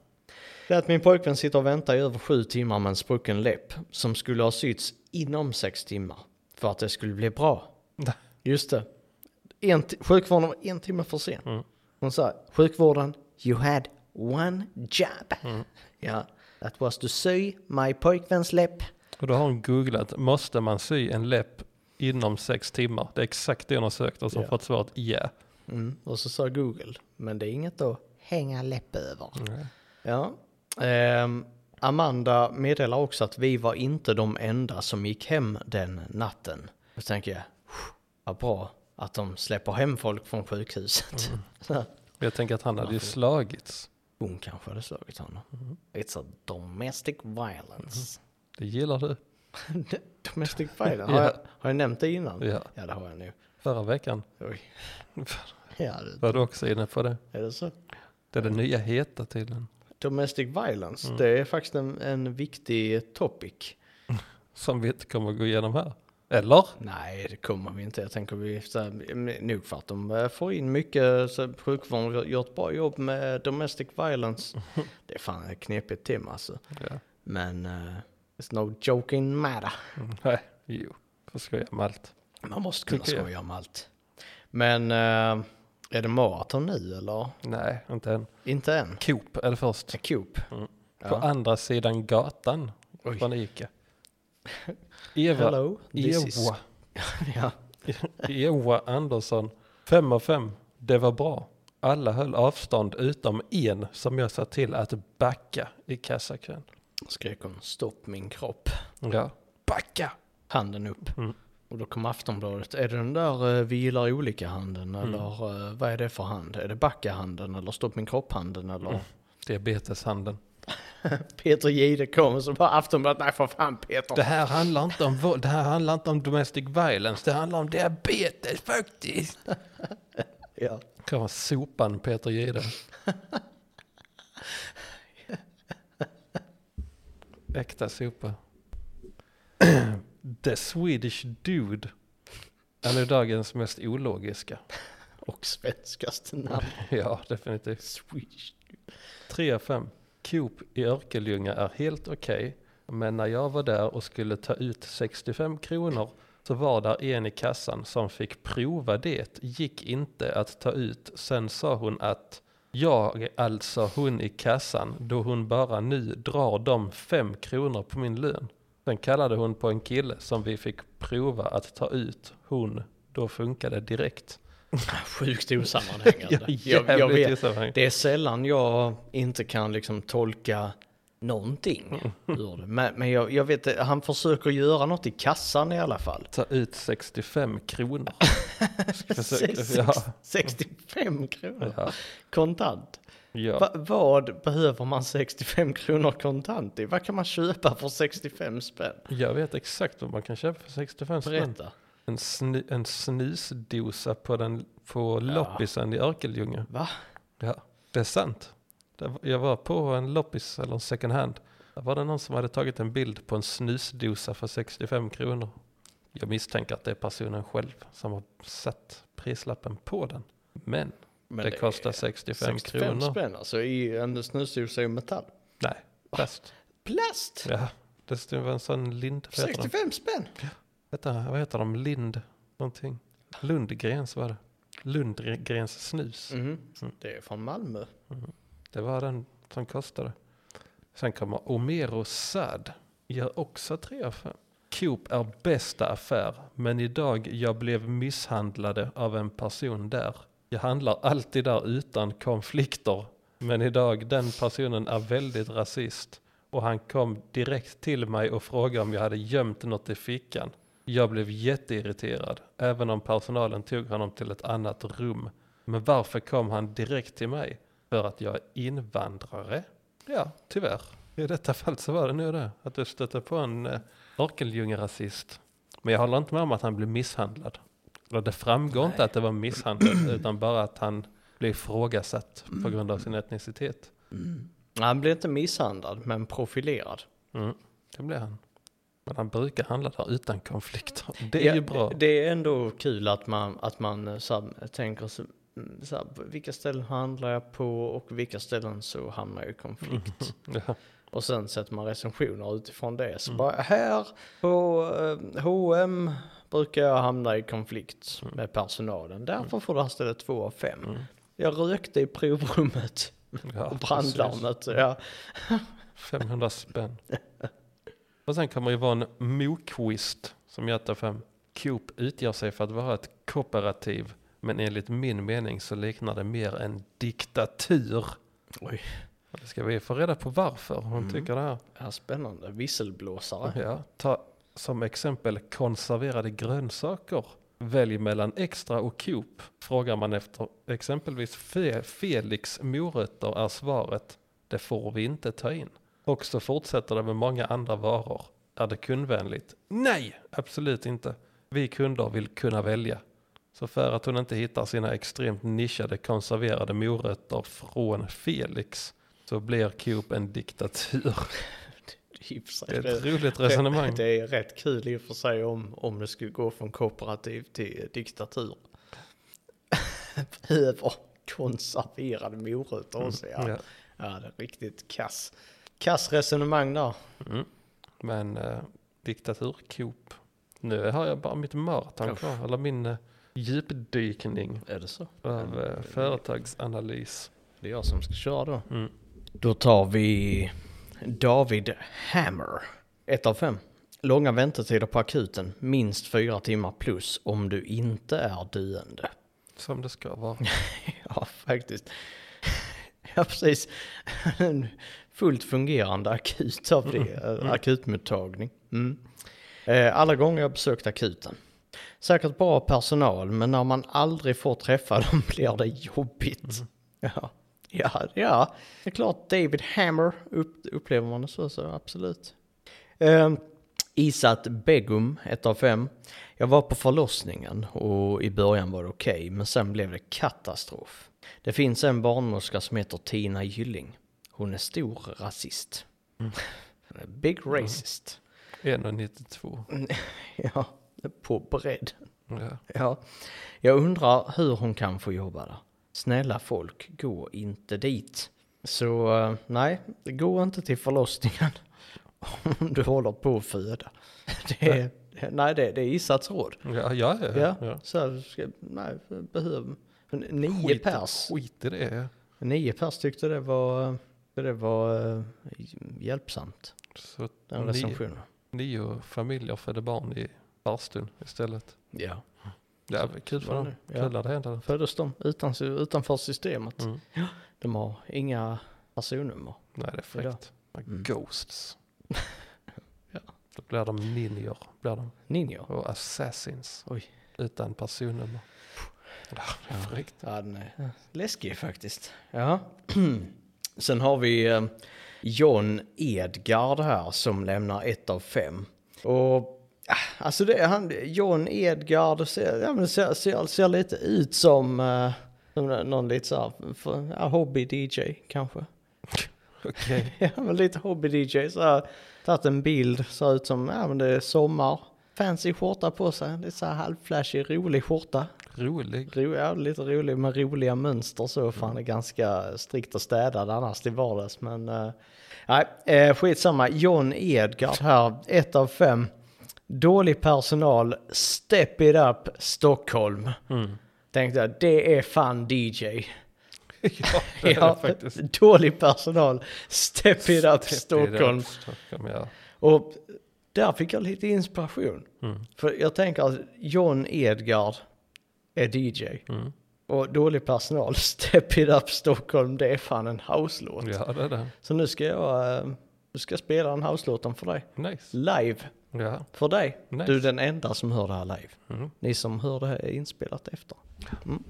Speaker 2: Det är att min pojkvän sitter och väntar i över sju timmar med en sprucken läpp. Som skulle ha sytts inom sex timmar. För att det skulle bli bra. Just det. En ti- sjukvården var en timme för sen.
Speaker 3: Mm.
Speaker 2: Hon sa, sjukvården, you had one job. Ja, that was to sy my pojkväns läpp.
Speaker 3: Och då har hon googlat, måste man sy en läpp inom sex timmar? Det är exakt det hon har sökt och som
Speaker 2: Ja.
Speaker 3: fått svaret ja.
Speaker 2: Mm. Och så sa Google, men det är inget att hänga läpp över. Ja. Ehm, Amanda meddelar också att vi var inte de enda som gick hem den natten. Då tänker jag, "Phew, vad bra att de släpper hem folk från sjukhuset.
Speaker 3: Mm. Jag tänker att han hade ju slagits.
Speaker 2: Hon kanske hade slagit honom.
Speaker 3: Mm.
Speaker 2: It's a domestic violence.
Speaker 3: Det gillar du.
Speaker 2: domestic violence? Har,
Speaker 3: Mm. Ja.
Speaker 2: jag, har jag nämnt det innan?
Speaker 3: Ja.
Speaker 2: Ja, det har jag nu.
Speaker 3: Förra veckan
Speaker 2: Oj. Ja, det,
Speaker 3: var du också inne på det.
Speaker 2: är det så?
Speaker 3: Det är det nya heta tydligen.
Speaker 2: Domestic violence,
Speaker 3: Mm.
Speaker 2: det är faktiskt en, en viktig topic.
Speaker 3: Som vi inte kommer att gå igenom här. Eller?
Speaker 2: Nej, det kommer vi inte. Jag tänker vi, så här, nog för att de eh, får in mycket, så sjukvården har gjort bra jobb med domestic violence. Det är fan ett knepigt tema alltså.
Speaker 3: Ja.
Speaker 2: Men eh, it's no joking matter.
Speaker 3: Mm, Nej, jo. Får skoja med allt.
Speaker 2: Man måste kunna
Speaker 3: Tycker jag.
Speaker 2: skoja om allt. Men eh, är det maraton nu eller?
Speaker 3: Nej, inte än.
Speaker 2: Inte än.
Speaker 3: Coop är det först.
Speaker 2: Coop.
Speaker 3: Mm. På
Speaker 2: Ja.
Speaker 3: andra sidan gatan
Speaker 2: Oj.
Speaker 3: från Ica. Eva.
Speaker 2: Hello, this is
Speaker 3: Ewa.
Speaker 2: ja.
Speaker 3: Joa Andersson, fem av fem. Det var bra. Alla höll avstånd utom en som jag sa till att backa i kassakön.
Speaker 2: Skrek hon stopp min kropp.
Speaker 3: Ja, backa!
Speaker 2: Handen upp.
Speaker 3: Mm.
Speaker 2: Och då kom Aftonbladet. Är det den där eh, vi gillar olika handen
Speaker 3: Mm.
Speaker 2: eller eh, vad är det för hand? Är det backa-handen eller stopp min kropp-handen eller?
Speaker 3: Mm. Diabeteshanden.
Speaker 2: Peter Jihde kom och så bara Aftonbladet. Nej för fan Peter.
Speaker 3: Det här handlar inte om våld, det här handlar inte om domestic violence, det handlar om diabetes faktiskt.
Speaker 2: Ja.
Speaker 3: Kan vara sopan Peter Jihde. Äkta sopa. The Swedish Dude. Han är dagens mest ologiska.
Speaker 2: Och svenskaste namn.
Speaker 3: Ja, definitivt.
Speaker 2: Swish.
Speaker 3: 3 av 5. Coop i Örkelljunga är helt okej, men när jag var där och skulle ta ut 65 kronor så var där en i kassan som fick prova det, gick inte att ta ut. Sen sa hon att jag, alltså hon i kassan, då hon bara nu drar de 5 kronor på min lön. Sen kallade hon på en kille som vi fick prova att ta ut. Hon, då funkade direkt.
Speaker 2: Sjukt osammanhängande. jag, jag
Speaker 3: jävligt
Speaker 2: vet.
Speaker 3: osammanhängande.
Speaker 2: Det är sällan jag inte kan liksom tolka någonting
Speaker 3: Mm.
Speaker 2: ur det. Men, men jag, jag vet att han försöker göra något i kassan i alla fall.
Speaker 3: Ta ut 65 kronor. Ska försöka-
Speaker 2: Sex-
Speaker 3: ja.
Speaker 2: 65 kronor
Speaker 3: Ja.
Speaker 2: kontant.
Speaker 3: Ja.
Speaker 2: Va, vad behöver man 65 kronor kontant i? Vad kan man köpa för 65 spänn?
Speaker 3: Jag vet exakt vad man kan köpa för 65 spänn.
Speaker 2: Berätta.
Speaker 3: En, snu, en snusdosa på, den, på loppisen i Örkelljunga.
Speaker 2: Va?
Speaker 3: Ja, det är sant. Det var- Jag var på en loppis eller en second hand. Där var det någon som hade tagit en bild på en snusdosa för 65 kronor. Jag misstänker att det är personen själv som har satt prislappen på den. Men,
Speaker 2: Men
Speaker 3: det,
Speaker 2: det
Speaker 3: kostar
Speaker 2: är
Speaker 3: 65,
Speaker 2: 65
Speaker 3: kronor.
Speaker 2: spänn alltså i en snusdosa i metall.
Speaker 3: Nej, plast.
Speaker 2: Plast!
Speaker 3: Ja, det var en sån lind. vad heter de?
Speaker 2: 65 spänn!
Speaker 3: Vänta, vad heter de? Lind någonting? Lundgrens var det. Lundgrens snus.
Speaker 2: Mhm.
Speaker 3: Mm.
Speaker 2: Det är från Malmö.
Speaker 3: Det var den som kostade. Sen kommer Omero Sad. Gör också 3 av 5. Coop är bästa affär, men idag jag blev misshandlade av en person där. Jag handlar alltid där utan konflikter, men idag den personen är väldigt rasist. Och han kom direkt till mig och frågade om jag hade gömt något i fickan. Jag blev jätteirriterad, även om personalen tog honom till ett annat rum. Men varför kom han direkt till mig? För att jag är invandrare? Ja, tyvärr. I detta fall så var det nu det. Att du stötte på en eh, Örkelljunga-rasist. Men jag håller inte med om att han blev misshandlad. Eller det framgår inte att det var misshandel, utan bara att han blev ifrågasatt på grund av sin etnicitet.
Speaker 2: Han blev inte misshandlad, men profilerad.
Speaker 3: Mm, det blev han. Men han brukar handla där utan konflikter. Det är
Speaker 2: Ja,
Speaker 3: ju bra.
Speaker 2: Det är ändå kul att man, att man eh, så här, tänker så, mm, så här, vilka ställen handlar jag på och vilka ställen så hamnar jag i konflikt.
Speaker 3: Ja.
Speaker 2: Och sen sätter man recensioner utifrån det.
Speaker 3: Mm.
Speaker 2: Så bara här på eh, H&M brukar jag hamna i konflikt
Speaker 3: Mm.
Speaker 2: med personalen. Därför får det här stället två av fem. Jag rökte i provrummet
Speaker 3: Ja,
Speaker 2: och
Speaker 3: precis.
Speaker 2: brandlarmet. så Jag,
Speaker 3: 500 spänn. Och sen kommer Yvonne Mokvist som gör 8 av 5. Coop utgör sig för att vara ett kooperativ men enligt min mening så liknar det mer en diktatur.
Speaker 2: Oj.
Speaker 3: Och Det ska vi få reda på varför hon tycker det här.
Speaker 2: ja, spännande, visselblåsare.
Speaker 3: Ja, ta som exempel konserverade grönsaker. Välj mellan extra och Coop. Frågar man efter exempelvis Fe- Felix morötter är svaret det får vi inte ta in. Och så fortsätter det med många andra varor. Är det kundvänligt? Nej, absolut inte. Vi kunder vill kunna välja. Så för att hon inte hittar sina extremt nischade konserverade morötter från Felix så blir Coop en diktatur.
Speaker 2: I och för sig,
Speaker 3: Det är
Speaker 2: det-
Speaker 3: ett roligt resonemang.
Speaker 2: Det är rätt kul i och för sig om, om det skulle gå från kooperativ till diktatur. Behöver konserverade morötter också. Ja.
Speaker 3: Mm. ja.
Speaker 2: ja, det är riktigt kass. Kass resonemang där.
Speaker 3: Men eh, diktaturkop. Nu har jag bara mitt maraton kvar, eller min eh, djupdykning
Speaker 2: Är det så?
Speaker 3: av eh, företagsanalys.
Speaker 2: Det är jag som ska köra då.
Speaker 3: Mm.
Speaker 2: Då tar vi David Hammer. Ett av fem. Långa väntetider på akuten, minst fyra timmar plus om du inte är döende.
Speaker 3: Som det ska vara.
Speaker 2: Ja, faktiskt. Ja, precis. En fullt fungerande akut av det. Akutmottagning. Mm. Eh, Alla gånger jag besökt akuten. Säkert bra personal, men när man aldrig får träffa dem blir det jobbigt. Ja, ja, ja. det är klart David Hammer upp, upplever man det så, så absolut. Eh, Isat Begum, ett av fem. Jag var på förlossningen och i början var det okej, men sen blev det katastrof. Det finns en barnmorska som heter Tina Gylling. Hon är stor rasist. Big racist.
Speaker 3: 1,92.
Speaker 2: Ja, på bredd.
Speaker 3: Ja.
Speaker 2: Ja. Jag undrar hur hon kan få jobba där. Snälla folk, gå inte dit. Så eh, nej, gå inte till förlossningen om du håller på att föda. Det är, nej, det, det är Isats råd.
Speaker 3: Ja, ja, ja.
Speaker 2: Ja,
Speaker 3: ja. ja.
Speaker 2: så här, ska, nej, behöver... Nio
Speaker 3: Skit-
Speaker 2: pers.
Speaker 3: Skit i det. ja.
Speaker 2: Nio pers tyckte det var, eh, det var eh, hjälpsamt,
Speaker 3: Så
Speaker 2: den
Speaker 3: nio,
Speaker 2: recensionen.
Speaker 3: nio familjer födde barn i barstun istället.
Speaker 2: Ja.
Speaker 3: Det var kul för
Speaker 2: var
Speaker 3: dem.
Speaker 2: det, ja.
Speaker 3: Kul när det händer.
Speaker 2: Föddes de utan, utanför systemet?
Speaker 3: Mm.
Speaker 2: De har inga personnummer.
Speaker 3: Nej, det är fräckt.
Speaker 2: Mm.
Speaker 3: Ghosts.
Speaker 2: Ja.
Speaker 3: Då blir de ninjor. Blir de.
Speaker 2: Ninjor?
Speaker 3: Och assassins.
Speaker 2: Oj.
Speaker 3: Utan personnummer. Ja, det är fräckt.
Speaker 2: Ja, den är läskig faktiskt. Ja. Sen har vi eh, John Edgard här som lämnar ett av fem. Och ah, alltså det, är han, John Edgard ser, ja, men ser, ser, ser lite ut som, eh, som någon lite så här, för- ja, hobby-DJ kanske.
Speaker 3: Okej.
Speaker 2: Ja, men lite hobby-DJ så här, tagit en bild, ser ut som, ja men det är sommar. Fancy skjorta på sig, lite så här halvflashig, rolig skjorta.
Speaker 3: Rolig.
Speaker 2: Ro, ja, lite rolig med roliga mönster så. Fan är ganska strikt och städad annars till vardags. Men eh, nej, eh, skitsamma. John Edgard här, ett av fem. Dålig personal, step it up, Stockholm. Tänkte jag, det är fan DJ.
Speaker 3: ja, det är det
Speaker 2: Ja,
Speaker 3: faktiskt.
Speaker 2: dålig personal, step it up, Stockholm.
Speaker 3: Speed up Stockholm, ja.
Speaker 2: Och där fick jag lite inspiration.
Speaker 3: Mm.
Speaker 2: För jag tänker att John Edgard är DJ.
Speaker 3: Mm.
Speaker 2: Och dålig personal, Step It Up Stockholm, det är fan en house-låt.
Speaker 3: ja, det är det.
Speaker 2: Så nu ska jag, eh, nu ska jag spela den house-låten för dig.
Speaker 3: Nice.
Speaker 2: Live,
Speaker 3: Ja,
Speaker 2: för dig.
Speaker 3: nice.
Speaker 2: Du är den enda som hör det här live.
Speaker 3: Mm.
Speaker 2: Ni som hör det här är inspelat efter. Mm.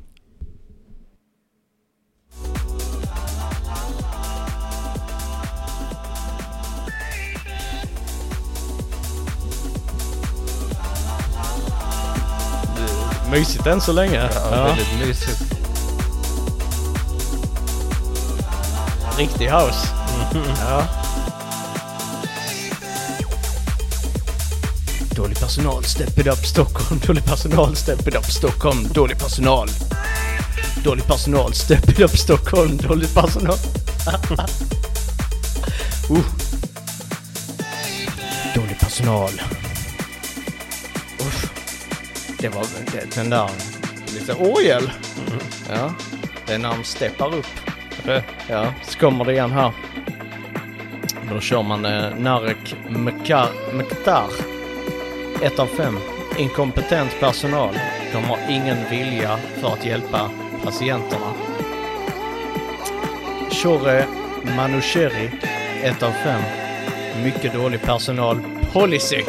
Speaker 2: Mysigt än så länge.
Speaker 3: ja, väldigt mysigt.
Speaker 2: Riktig house. Ja. Dålig personal, step it up Stockholm. Dålig personal, step it up Stockholm. Dålig personal. Dålig personal, step it up Stockholm. Dålig personal. uh. Dålig personal. Usch. Det var det- den där lite orgel. Mm-hmm. Ja, det är när de steppar upp.
Speaker 3: Det-
Speaker 2: Ja, så kommer det igen här. Då kör man eh, Narek Mekar- Mektar. 1 av 5. Inkompetent personal. De har ingen vilja för att hjälpa patienterna. Shore Manusheri. 1 av 5. Mycket dålig personal. Policy.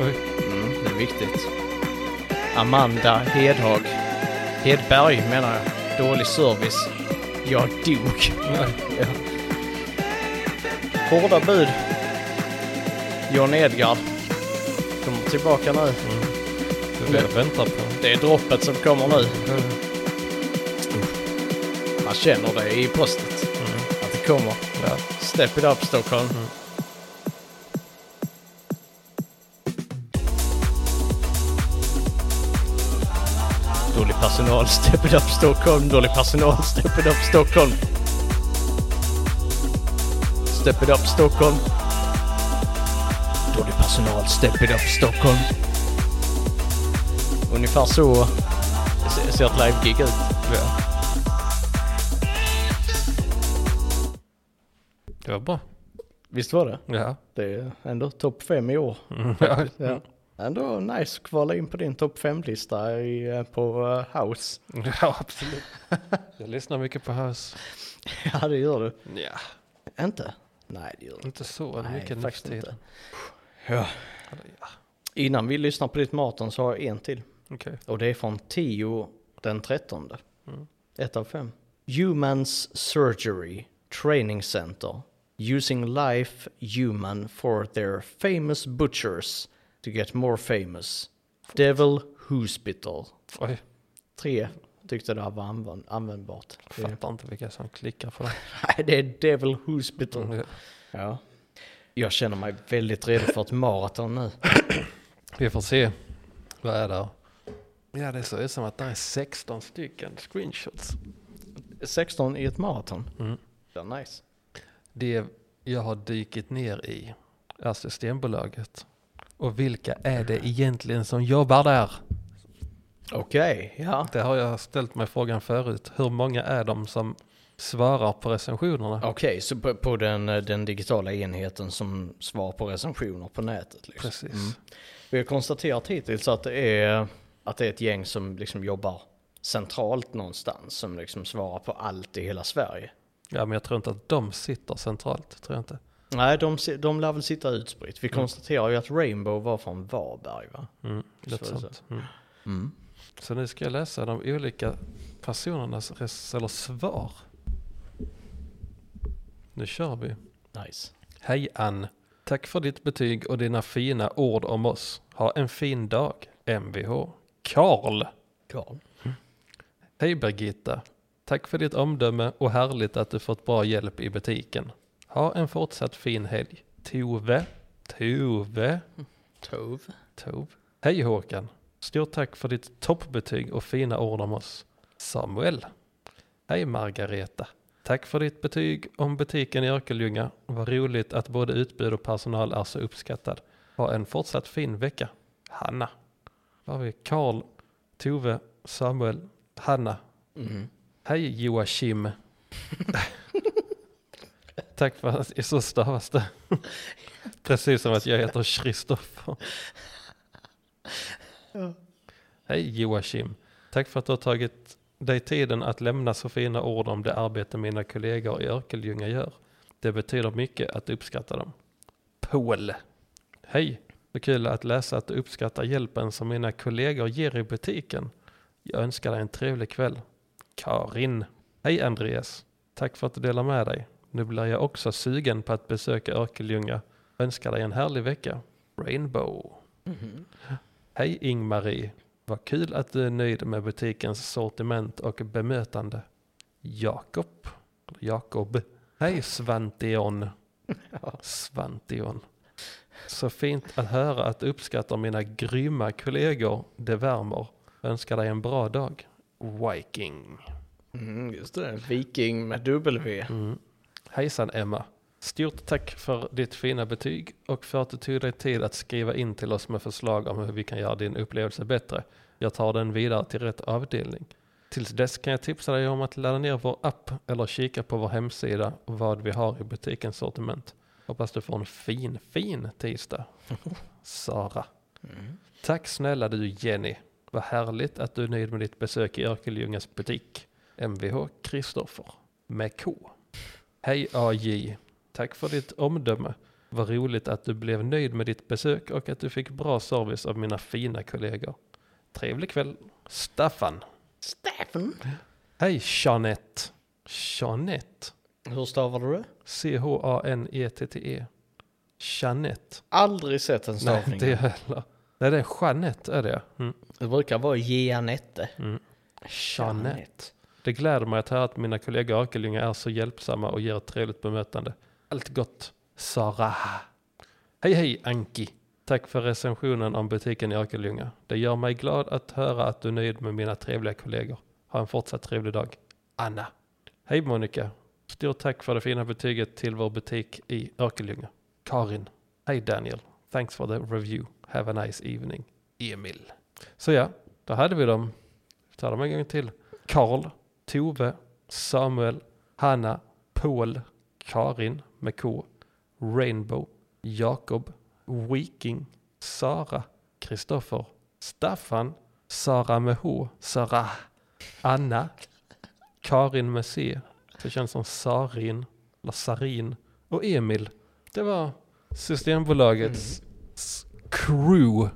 Speaker 3: Oj,
Speaker 2: Mm, det är viktigt. Amanda Hedhag. Hedberg menar jag. Dålig service. Jag dog.
Speaker 3: nej.
Speaker 2: Ja. Hårda bud. John Edgard kommer tillbaka nu.
Speaker 3: Det är det jag väntar på.
Speaker 2: Det är droppet som kommer nu.
Speaker 3: Mm.
Speaker 2: Man känner det i bröstet. Att det kommer.
Speaker 3: Ja.
Speaker 2: Step it up Stockholm. Dålig personal, step it up Stockholm. Dålig personal, step it up Stockholm. Step it up Stockholm. Dålig personal, step it up Stockholm. Ungefär så ser- ser ett live-gig ut.
Speaker 3: Ja. Det var bra.
Speaker 2: Visst var det?
Speaker 3: Ja.
Speaker 2: Det är ändå topp fem i år.
Speaker 3: Mm, ja.
Speaker 2: Ja. Ändå nice att kvala in på din topp fem-lista i, eh, på eh, House.
Speaker 3: ja, absolut. Jag lyssnar mycket på house.
Speaker 2: Ja, det gör du.
Speaker 3: Ja,
Speaker 2: Inte? Nej, det gör du
Speaker 3: inte så
Speaker 2: Nej,
Speaker 3: mycket nu för
Speaker 2: faktiskt
Speaker 3: tiden.
Speaker 2: inte. Ja.
Speaker 3: Eller, ja,
Speaker 2: Innan vi lyssnar på ditt Martin så har jag en till.
Speaker 3: Okej.
Speaker 2: Och det är från 10 den 13.
Speaker 3: Mm.
Speaker 2: Ett av fem. Humans Surgery Training Center. Using life human for their famous butchers to get more famous. Devil Hospital.
Speaker 3: Oj,
Speaker 2: Tre tyckte det här var använd- användbart. Det är,
Speaker 3: fattar inte vilka som klickar på det.
Speaker 2: nej, det är Devil Hospital.
Speaker 3: Mm.
Speaker 2: Ja. Jag känner mig väldigt redo för ett maraton nu.
Speaker 3: Vi får se. Vad är det? Ja, det ser ut som att det är 16 stycken screenshots.
Speaker 2: 16 i ett maraton.
Speaker 3: Mm.
Speaker 2: Ja, nice.
Speaker 3: Det jag har dykit ner i är Systembolaget. Och vilka är det egentligen som jobbar där?
Speaker 2: Okej, ja.
Speaker 3: Det har jag ställt mig frågan förut. Hur många är de som svarar på recensionerna?
Speaker 2: Okej, så på, på den, eh, den digitala enheten som svarar på recensioner på nätet. Liksom.
Speaker 3: Precis.
Speaker 2: Vi har konstaterat hittills att det är, att det är ett gäng som liksom jobbar centralt någonstans som liksom svarar på allt i hela Sverige.
Speaker 3: Ja, men jag tror inte att de sitter centralt. Tror jag inte.
Speaker 2: Nej, de, si- de lär väl sitta utspritt. Vi konstaterar ju att Rainbow var från Varberg, va?
Speaker 3: Mm,
Speaker 2: Visst
Speaker 3: lite
Speaker 2: var det så?
Speaker 3: sånt. Mm. Så nu ska jag läsa de olika personernas res- eller svar. Nu kör vi.
Speaker 2: Nice.
Speaker 3: Hej Ann. Tack för ditt betyg och dina fina ord om oss. Ha en fin dag. Mvh. Karl.
Speaker 2: Karl.
Speaker 3: Hej Birgitta. Tack för ditt omdöme och härligt att du fått bra hjälp i butiken. Ha en fortsatt fin helg. Tove. Tove.
Speaker 2: Tove.
Speaker 3: Tove. Hej Håkan. Stort tack för ditt toppbetyg och fina ord om oss. Samuel. Hej Margareta. Tack för ditt betyg om butiken i Örkelljunga. Vad roligt att både utbud och personal är så uppskattad. Ha en fortsatt fin vecka. Hanna. Var har vi Karl, Tove, Samuel, Hanna.
Speaker 2: Mm.
Speaker 3: Hej Joakim. Tack för att så stavas det. Precis som att jag heter Kristoffer. Hej Joakim. Tack för att du har tagit dig tiden att lämna så fina ord om det arbete mina kollegor i Örkelljunga gör. Det betyder mycket att uppskatta dem. Paul. Hej. Så kul att läsa att du uppskattar hjälpen som mina kollegor ger i butiken. Jag önskar dig en trevlig kväll. Karin. Hej Andreas. Tack för att du delar med dig. Nu blir jag också sugen på att besöka Örkelljunga. Önskar dig en härlig vecka. Rainbow.
Speaker 2: Mhm.
Speaker 3: Hej Ingmarie. Vad kul att du är nöjd med butikens sortiment och bemötande. Jakob. Eller Jakob. Hej Svantion.
Speaker 2: Ja.
Speaker 3: Svantion. Så fint att höra att du uppskattar mina grymma kollegor. Det värmer. Önskar dig en bra dag. Viking.
Speaker 2: Mm, just det, Viking med W.
Speaker 3: Mm. Hejsan Emma. Stort tack för ditt fina betyg och för att du tog dig tid att skriva in till oss med förslag om hur vi kan göra din upplevelse bättre. Jag tar den vidare till rätt avdelning. Tills dess kan jag tipsa dig om att ladda ner vår app eller kika på vår hemsida och vad vi har i butikens sortiment. Hoppas du får en fin, fin tisdag. Sara.
Speaker 2: Mm.
Speaker 3: Tack snälla du Jenny. Vad härligt att du är nöjd med ditt besök i Örkeljungas butik. Mvh Kristoffer med K. Hej AJ. Tack för ditt omdöme. Vad roligt att du blev nöjd med ditt besök och att du fick bra service av mina fina kollegor. Trevlig kväll. Staffan.
Speaker 2: Stefan.
Speaker 3: Hej Jeanette. Jeanette.
Speaker 2: Hur stavar du det?
Speaker 3: E C-H-A-N-E-T-T-E. Jeanette.
Speaker 2: Aldrig sett en
Speaker 3: Nej,
Speaker 2: stavning.
Speaker 3: inte jag heller. Nej, det är Jeanette är det. Mm.
Speaker 2: Det brukar vara Jeanette.
Speaker 3: Mm. Det gläder mig att höra att mina kollegor i Örkelljunga är så hjälpsamma och ger ett trevligt bemötande. Allt gott, Sara. Hej hej Anki. Tack för recensionen om butiken i Örkelljunga. Det gör mig glad att höra att du är nöjd med mina trevliga kollegor. Ha en fortsatt trevlig dag. Anna. Hej Monica. Stort tack för det fina betyget till vår butik i Örkelljunga. Karin. Hej Daniel. Thanks for the review. Have a nice evening. Emil. Så ja, där hade vi dem. Vi tar dem en gång till. Karl, Tove, Samuel, Hanna, Paul, Karin med K, Rainbow, Jakob, Viking, Sara, Kristoffer, Staffan, Sara med H, Sara, Anna, Karin med C, det känns som Sarin, eller Sarin, och Emil. Det var Systembolagets s- crew,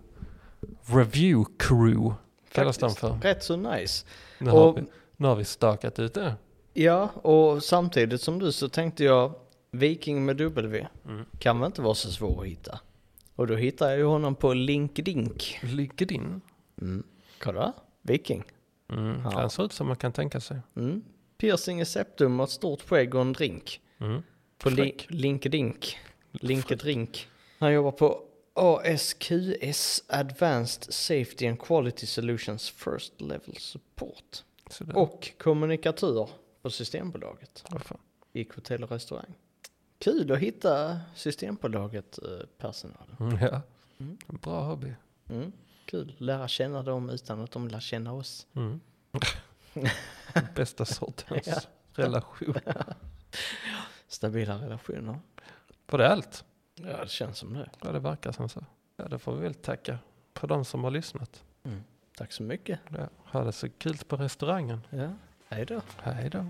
Speaker 3: review crew, kallas de
Speaker 2: Faktiskt.
Speaker 3: för.
Speaker 2: Rätt så nice.
Speaker 3: Nu, har
Speaker 2: Och-
Speaker 3: vi, nu har vi stakat ut det.
Speaker 2: Ja, och samtidigt som du så tänkte jag Viking med W
Speaker 3: Mm.
Speaker 2: kan väl inte vara så svår att hitta. Och då hittade jag ju honom på LinkedIn.
Speaker 3: LinkedIn.
Speaker 2: Mm. Kolla, Viking.
Speaker 3: Mm.
Speaker 2: Ja.
Speaker 3: Han ser ut som man kan tänka sig.
Speaker 2: Mm. Piercing i septum och ett stort skägg och en drink.
Speaker 3: Mm.
Speaker 2: På li-
Speaker 3: Fräck.
Speaker 2: Linkedink. Linkedrink. Han jobbar på ASQS Advanced Safety and Quality Solutions First Level Support.
Speaker 3: Sådär.
Speaker 2: Och kommunikatör på Systembolaget.
Speaker 3: Vad fan.
Speaker 2: i hotell och restaurang. Kul att hitta Systembolaget eh, personalen.
Speaker 3: Mm, ja.
Speaker 2: Mm.
Speaker 3: En bra hobby.
Speaker 2: Mm. Kul, lära känna dem utan att de lär känna oss.
Speaker 3: Mm. Den Bästa sortens
Speaker 2: Ja.
Speaker 3: relation.
Speaker 2: Stabila relationer.
Speaker 3: Var det allt?
Speaker 2: Ja, det känns som det.
Speaker 3: Ja, det verkar som så. Ja, det får vi väl tacka på de som har lyssnat.
Speaker 2: Tack så mycket.
Speaker 3: Ja, ha det så kul på restaurangen.
Speaker 2: Ja. Hej då.
Speaker 3: Hej då.